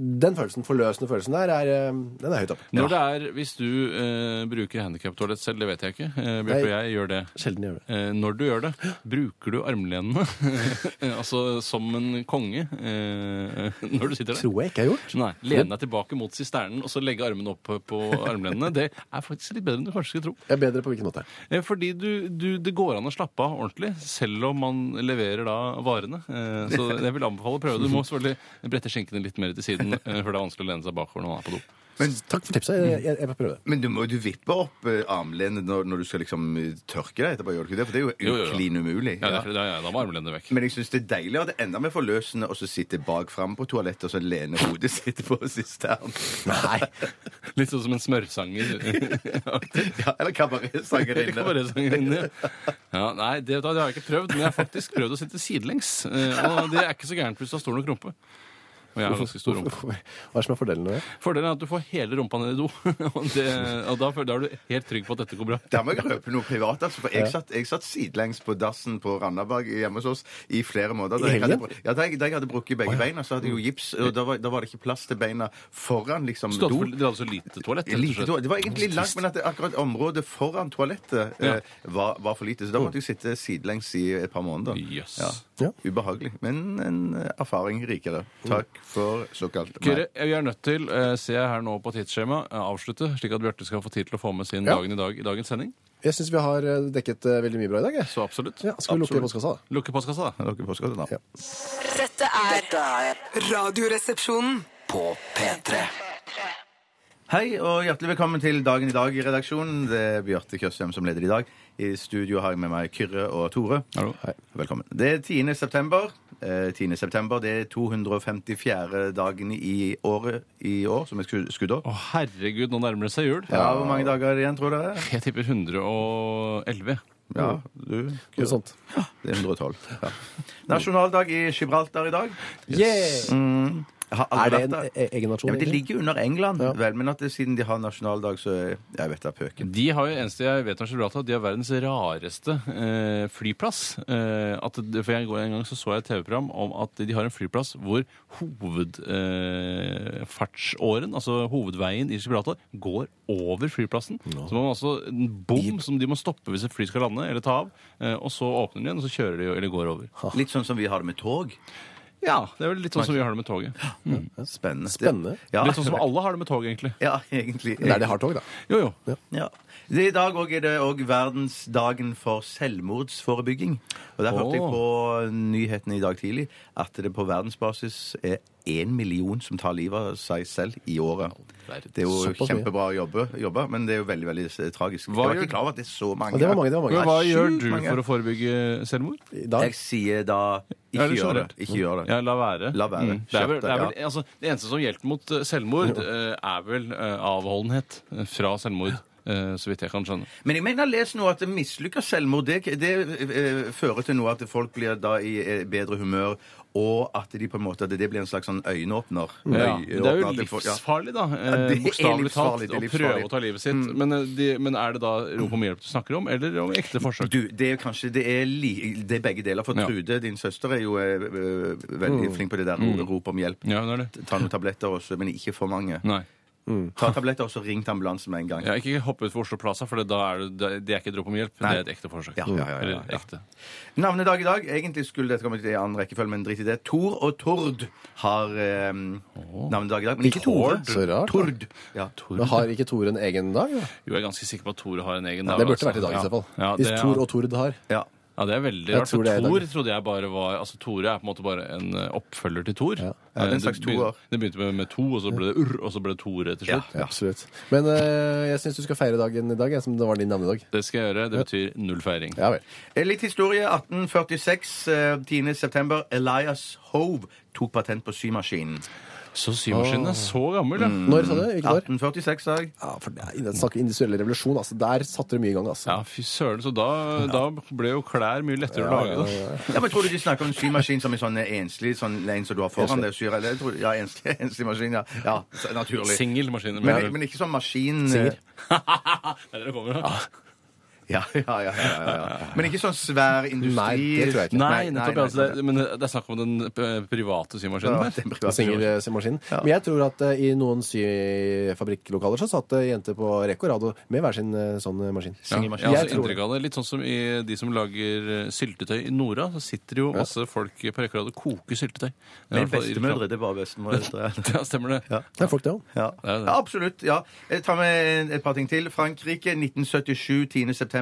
Den følelsen, forløsende følelsen der, er, eh, den er høyt oppe.
Når det er, Hvis du eh, bruker handikaptoalett selv, det vet jeg ikke. Eh, Bjarte og
Nei.
jeg gjør det.
Sjelden gjør det.
Eh, når du gjør det, bruker du armlenene [laughs] eh, altså som en konge eh, [laughs] når du sitter der?
Tror jeg ikke jeg har gjort.
Nei. Lene deg tilbake mot sisternen og så legge armene opp på armlenene. Det er faktisk litt bedre enn du kanskje skulle tro.
Jeg er bedre på hvilken måte.
Eh, Fordi du, du, det går an å slappe av ordentlig, selv om man leverer da varene. Eh, Så jeg vil anbefale å prøve. Du må selvfølgelig brette skinkene litt mer til siden, eh, for det er vanskelig å lene seg bakover når man er på do.
Men,
Takk for tipset. Jeg, jeg, jeg får prøve det.
men du må jo vippe opp eh, armlenet når, når du skal liksom eh, tørke deg etterpå, gjør du ikke det? For det er
Jo,
jo
jo, jo.
klin umulig.
Ja,
Ja.
det er- det er- Da må armlenene vekk.
Men jeg syns det er deilig at det ender med forløsende og så sitte bak fram på toalettet og så lene hodet sitt på sisteren.
Nei.
Litt sånn som en smørsanger.
[laughs] Ja, eller
[laughs]
[laughs] Ikke
kabaretsangerinne.
bare sangerinne. Ja, nei, det, det har jeg ikke prøvd, men jeg har faktisk prøvd å sitte sidelengs. eh, Og det er ikke så gærent hvis du har stor nok rumpe. Og jeg har ganske stor rumpe.
Hva er det som er fordelen med det?
Fordelen er at du får hele rumpa ned i do, [laughs] og, det, og da, føler- da er du helt trygg på at dette går bra.
Der må jeg røpe noe privat. altså, for Jeg satt, jeg satt sidelengs på dassen på Randaberg hjemme hos oss i flere måneder. Da
I
jeg hadde,
helgen?
ja, da jeg, da jeg hadde brukket begge beina, så hadde jeg jo gips, og da var, da var det ikke plass til beina foran liksom
Så
do.
for- Dere hadde så lite toalett. rett og
Lite
slett.
toalett. Det var egentlig langt, men at det, akkurat området foran toalettet
Ja.
eh, var, var for lite. Så da måtte jeg sitte sidelengs i et par måneder.
Jøss.
Ja.
Ubehagelig, men en eh, erfaring rikere. Takk for såkalt meg.
Kyrre, vi er nødt til, eh, ser jeg her nå på tidsskjema, eh, avslutte, slik at Bjarte skal få tid til å få med sin
Ja.
dagen i dag i dagens sending.
Jeg syns vi har eh, dekket eh, veldig mye bra i dag. Jeg.
Så absolutt.
Ja, skal vi lukke
Absolutt.
postkassa, da?
Lukke postkassa, da.
Har dere påskått det da?
Ja.
Dette er Radioresepsjonen.
På P3.
Hei og hjertelig velkommen til Dagen i dag i redaksjonen. Det er Bjarte Kjøstheim som leder i dag. I studio har jeg med meg Kyrre og Tore.
Hallo.
Hei. Velkommen. Det er 10. september. Eh, 10. september, Det er 254. dagen i året i år som er sku- skuddår.
Å, herregud, nå nærmer det seg jul.
Ja, Hvor mange dager er det igjen, tror dere?
Jeg tipper 111.
Ja, du,
Noe
Kyrre.
sånt.
Det er 112. Ja. sånn. Nasjonaldag i Gibraltar i dag.
Mm.
Yeah!
Jeg har
Er
aldri
det
vært
en
der.
e- egen nasjon?
Ja, men det
egentlig?
ligger jo under England, vel, men at det, siden de har nasjonaldag, så er- Jeg vet da pøken.
De har jo eneste jeg vet om Gibraltar, de har verdens rareste eh, flyplass. Eh, at, det- for jeg går En gang så, så jeg et TV-program om at de har en flyplass hvor hovedfartsåren, eh, fartsåren, altså hovedveien i Gibraltar, går over flyplassen. Så man må altså en bom som de må stoppe hvis et fly skal lande eller ta av. Eh, og så åpner de igjen, og så kjører de jo- eller går over.
Litt sånn som vi har det med tog.
Ja, Det er vel litt sånn som vi har det med toget.
Spennende.
Spennende.
Ja.
Litt
[laughs]
sånn som alle har det med tog, egentlig.
Ja, egentlig.
Men er det hardt òg, da?
Jo, jo.
Ja. Det, I dag også er det òg verdensdagen for selvmordsforebygging. Og Der hørte jeg
Åh.
på nyhetene i dag tidlig at det på verdensbasis er én million som tar livet av seg selv i året. Det er jo
Såpass mye.
kjempebra jobbe, jobba, men det er jo veldig veldig eh, tragisk. jeg
Hva
var
gjør-
ikke klar over at det er så mange.
Ja, det var mange. det var
Men
mange.
hva
Sjukt
gjør du
mange.
for å forebygge selvmord?
I dag?
Jeg sier da
Er
ikke
det så
gjør det.
rart?
Ikke gjør det.
Ja, la være. Mm.
La være.
Det, er vel,
Kjapt,
det, er vel,
ja.
altså, det eneste som hjelper mot eh, selvmord, eh, er vel eh, avholdenhet fra selvmord. eh, Så vidt jeg kan skjønne.
Men jeg mener, les nå at mislykka selvmord, det, det eh, fører til noe at folk blir da i eh, bedre humør, og at de på en måte, at det blir en slags sånn øyenåpner.
Ja,
Øyeåpner,
det er jo
at de får- ja.
livsfarlig, da. eh,
Ja, det er
Bokstavelig talt.
livsfarlig, det er
Å
livsfarlig. Mm.
prøve å ta livet sitt. Men, eh, de, men er det da rop om hjelp du snakker om, eller om ekte forsøk?
Du, det er jo kanskje det er, li, det er begge deler, for
Ja. Mm.
Trude, din søster, er jo eh, eh, veldig flink på det der rop om hjelp.
Ja, hun er det.
Ta noen tabletter også, men ikke for mange.
Nei. Mm.
Ta tabletter også, ring til ambulansen med en gang.
Ja, ikke hopp ut for Oslo Plaza, for da er det, det- det er ikke et rop om hjelp. Det er et ekte forsøk.
Ja, ja, ja, ja,
Eller
ja.
ekte.
Navnedag i dag. Egentlig skulle dette kommet i annen rekkefølge, men drit i det. Tor og Tord har eh, navnedag i dag. Men ikke Tore.
Tord? Så rart, da.
Tord. Ja.
Men har ikke Tor en egen dag? Da?
Jo, jeg er ganske sikker på at Tore har en egen altså.
Det burde vært i dag i så fall.
Ja,
Hvis
det er-
Tor og Tord har.
ja.
Ja, det er veldig
Jeg
rart. For
tror det er i dag.
Thor trodde jeg bare var Altså, Tore er på en måte bare en eh, oppfølger til Thor.
Ja, det er en slags toer.
begynte, det begynte med, med to, og så ble det urr, og så ble det Tore til slutt.
Ja.
Absolutt. Men eh, jeg syns du skal feire dagen i dag, jeg, som det var din navnedag.
Det skal jeg gjøre. Det betyr null feiring.
Ja vel.
Eh, Litt historie. 1846, eh, 10. september. Elias Hove tok patent på symaskinen.
Så symaskinen er så gammel, Mm. ja.
Mm.
Når sa du? Hvilket år?
1846, sa jeg.
Ja, for det er, det snakker industriell revolusjon, altså. Der satte det mye i gang, altså.
Ja, fy søren. Så da, da ble jo klær mye lettere å lage. da.
Ja, men Tror du de snakker om en symaskin som en sånn enslig sånn en som du har foran deg? Syr, eller, jeg tror, ja, enslig, [laughs] enslig maskin, ja. ja så naturlig.
Singelmaskiner. mener
Men,
jeg.
men ikke sånn maskin
[laughs] Der dere kommer, da.
[laughs] Ja, ja, ja, ja, ja, ja. Men ikke sånn svær industri
Nei, det tror jeg ikke.
Nei, nettopp.
nei,
altså, det, men det er snakk om den eh, private symaskinen
Ja,
der.
det er privat.
Singelsymaskinen. Men jeg tror at eh, i noen syfabrikklokaler så satt det jenter på rekke og rad og- med hver sin eh, sånn eh, maskin.
Ja, jeg
Jeg
har også
tror
inntrykk av det. Litt sånn som i de som lager eh, syltetøy i Nora. Så sitter jo masse folk på rekke og rad og koker syltetøy. Det er i
Men
hvert fall i
bestemødre, det er bare bestemødre.
reklame. [laughs] Ja, stemmer det.
Det er folk, det òg.
[laughs] Ja.
Ja, det-
ja, absolutt. ja. Jeg tar med et par ting til. Frankrike, 1977, 10. september.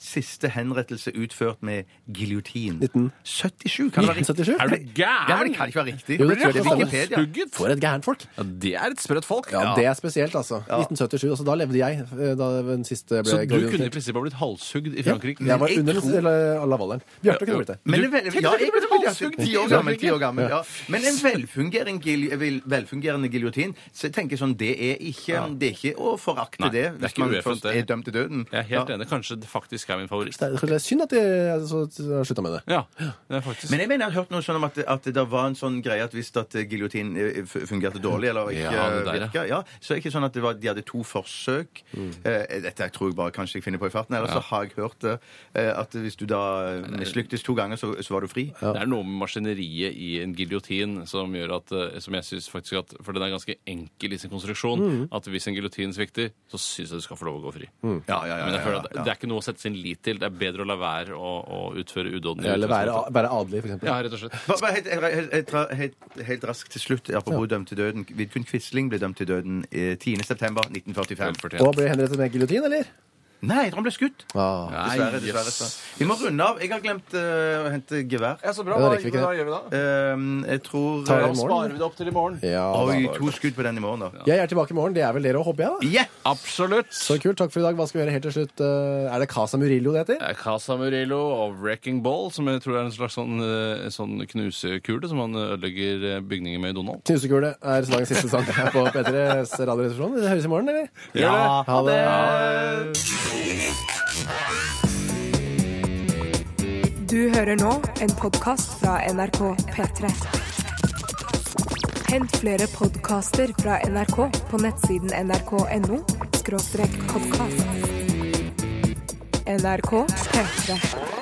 Siste henrettelse utført med giljotin. 1977? Kan det være riktig?
1977?
Er du
Ja, men det
gæren?!
kan ikke være riktig.
Jo, det tror jeg
er
det stemmer.
Wikipedia.
Halshugget?
For et gærent folk!
Ja, det er et sprøtt folk.
Ja, Det er spesielt, altså. 1977. altså Da levde jeg, eh, da den siste ble
Så du
gravid.
kunne i prinsippet ha blitt halshugd i
Ja,
Frankrike?
jeg var
Jeg
under
tror-
den eller lavalderen. Bjarte kunne blitt det.
Men
Du-
en vel, ja,
Tenk deg at
jeg
du ble
ble
halshugget
ti år gammel. Ti år gammel ja. Men en velfungerende, gil, vel, velfungerende giljotin så jeg tenker sånn, det er ikke, det er ikke å forakte det
Nei, det er
hvis
ikke
man
ueffent,
først
det.
er dømt til døden.
Jeg er helt enig. Kanskje det faktisk er min favoritt.
Det er- det er synd at jeg så- så slutta med det.
Ja, det er faktisk.
Men jeg mener jeg har hørt noe sånn om at, at det var en sånn greie at hvis at giljotin eh, f- fungerte dårlig eller ikke
Ja,
ja,
det der, ja. Mm.
virka, ja, så er det ikke sånn at det var, de hadde to forsøk. Eh, dette tror jeg bare kanskje jeg finner på i farten. Eller så har jeg hørt det, eh, at hvis du da mislyktes to ganger, så, så var du fri.
Det er noe med maskineriet i en giljotin som gjør at eh, som jeg synes faktisk at, For den er ganske enkel i sin konstruksjon.
Mm.
At hvis en giljotin svikter, så syns jeg du skal få lov å gå fri.
Mm. Ja, ja, ja,
Men jeg
ja,
føler at
ja.
det, det er ikke noe å sette sin lit til. Det er bedre å la være å, å utføre udåden. i
Eller være,
utgangspunktet.
være adelig, for eksempel.
Ja, rett og slett.
Bare- bare Helt, helt, helt, helt, helt raskt til slutt, apropos dømt til døden. Vidkun Quisling ble dømt til døden eh, 10. september 1945.
Velfortjent.
Og ble henrettet med giljotin, eller?
Nei, jeg tror han ble skutt.
Ah.
Nei,
Dessverre. dessverre.
jøss.
så. Vi må runde av. Jeg har glemt eh, å hente gevær.
Ja, så bra.
Ja,
Hva,
det rekker vi ikke.
hva gjør vi da?
Eh, jeg tror
Ta det i
Da
morgen.
sparer vi det opp til i morgen.
Ja, da.
Oi, to skudd på den i morgen, da.
Jeg er tilbake i morgen. Det er vel dere òg, håper jeg? da
Yeah!
Absolutt.
Så kult. Takk for i dag. Hva skal vi gjøre helt til slutt? Eh, Er det Casa Murillo det heter?
Det er Casa Murillo og Wrecking Ball, som jeg tror er en slags sånn, eh, sånn knusekule som han ødelegger eh, bygninger med i Donald.
Knusekule er dagens siste sang her på P3s radioresepsjon. Vi høres i morgen, eller?
Ja.
Ha det!
Du hører nå en podkast fra NRK P3. Hent flere podkaster fra NRK på nettsiden nrk.no podkast. NRK P3.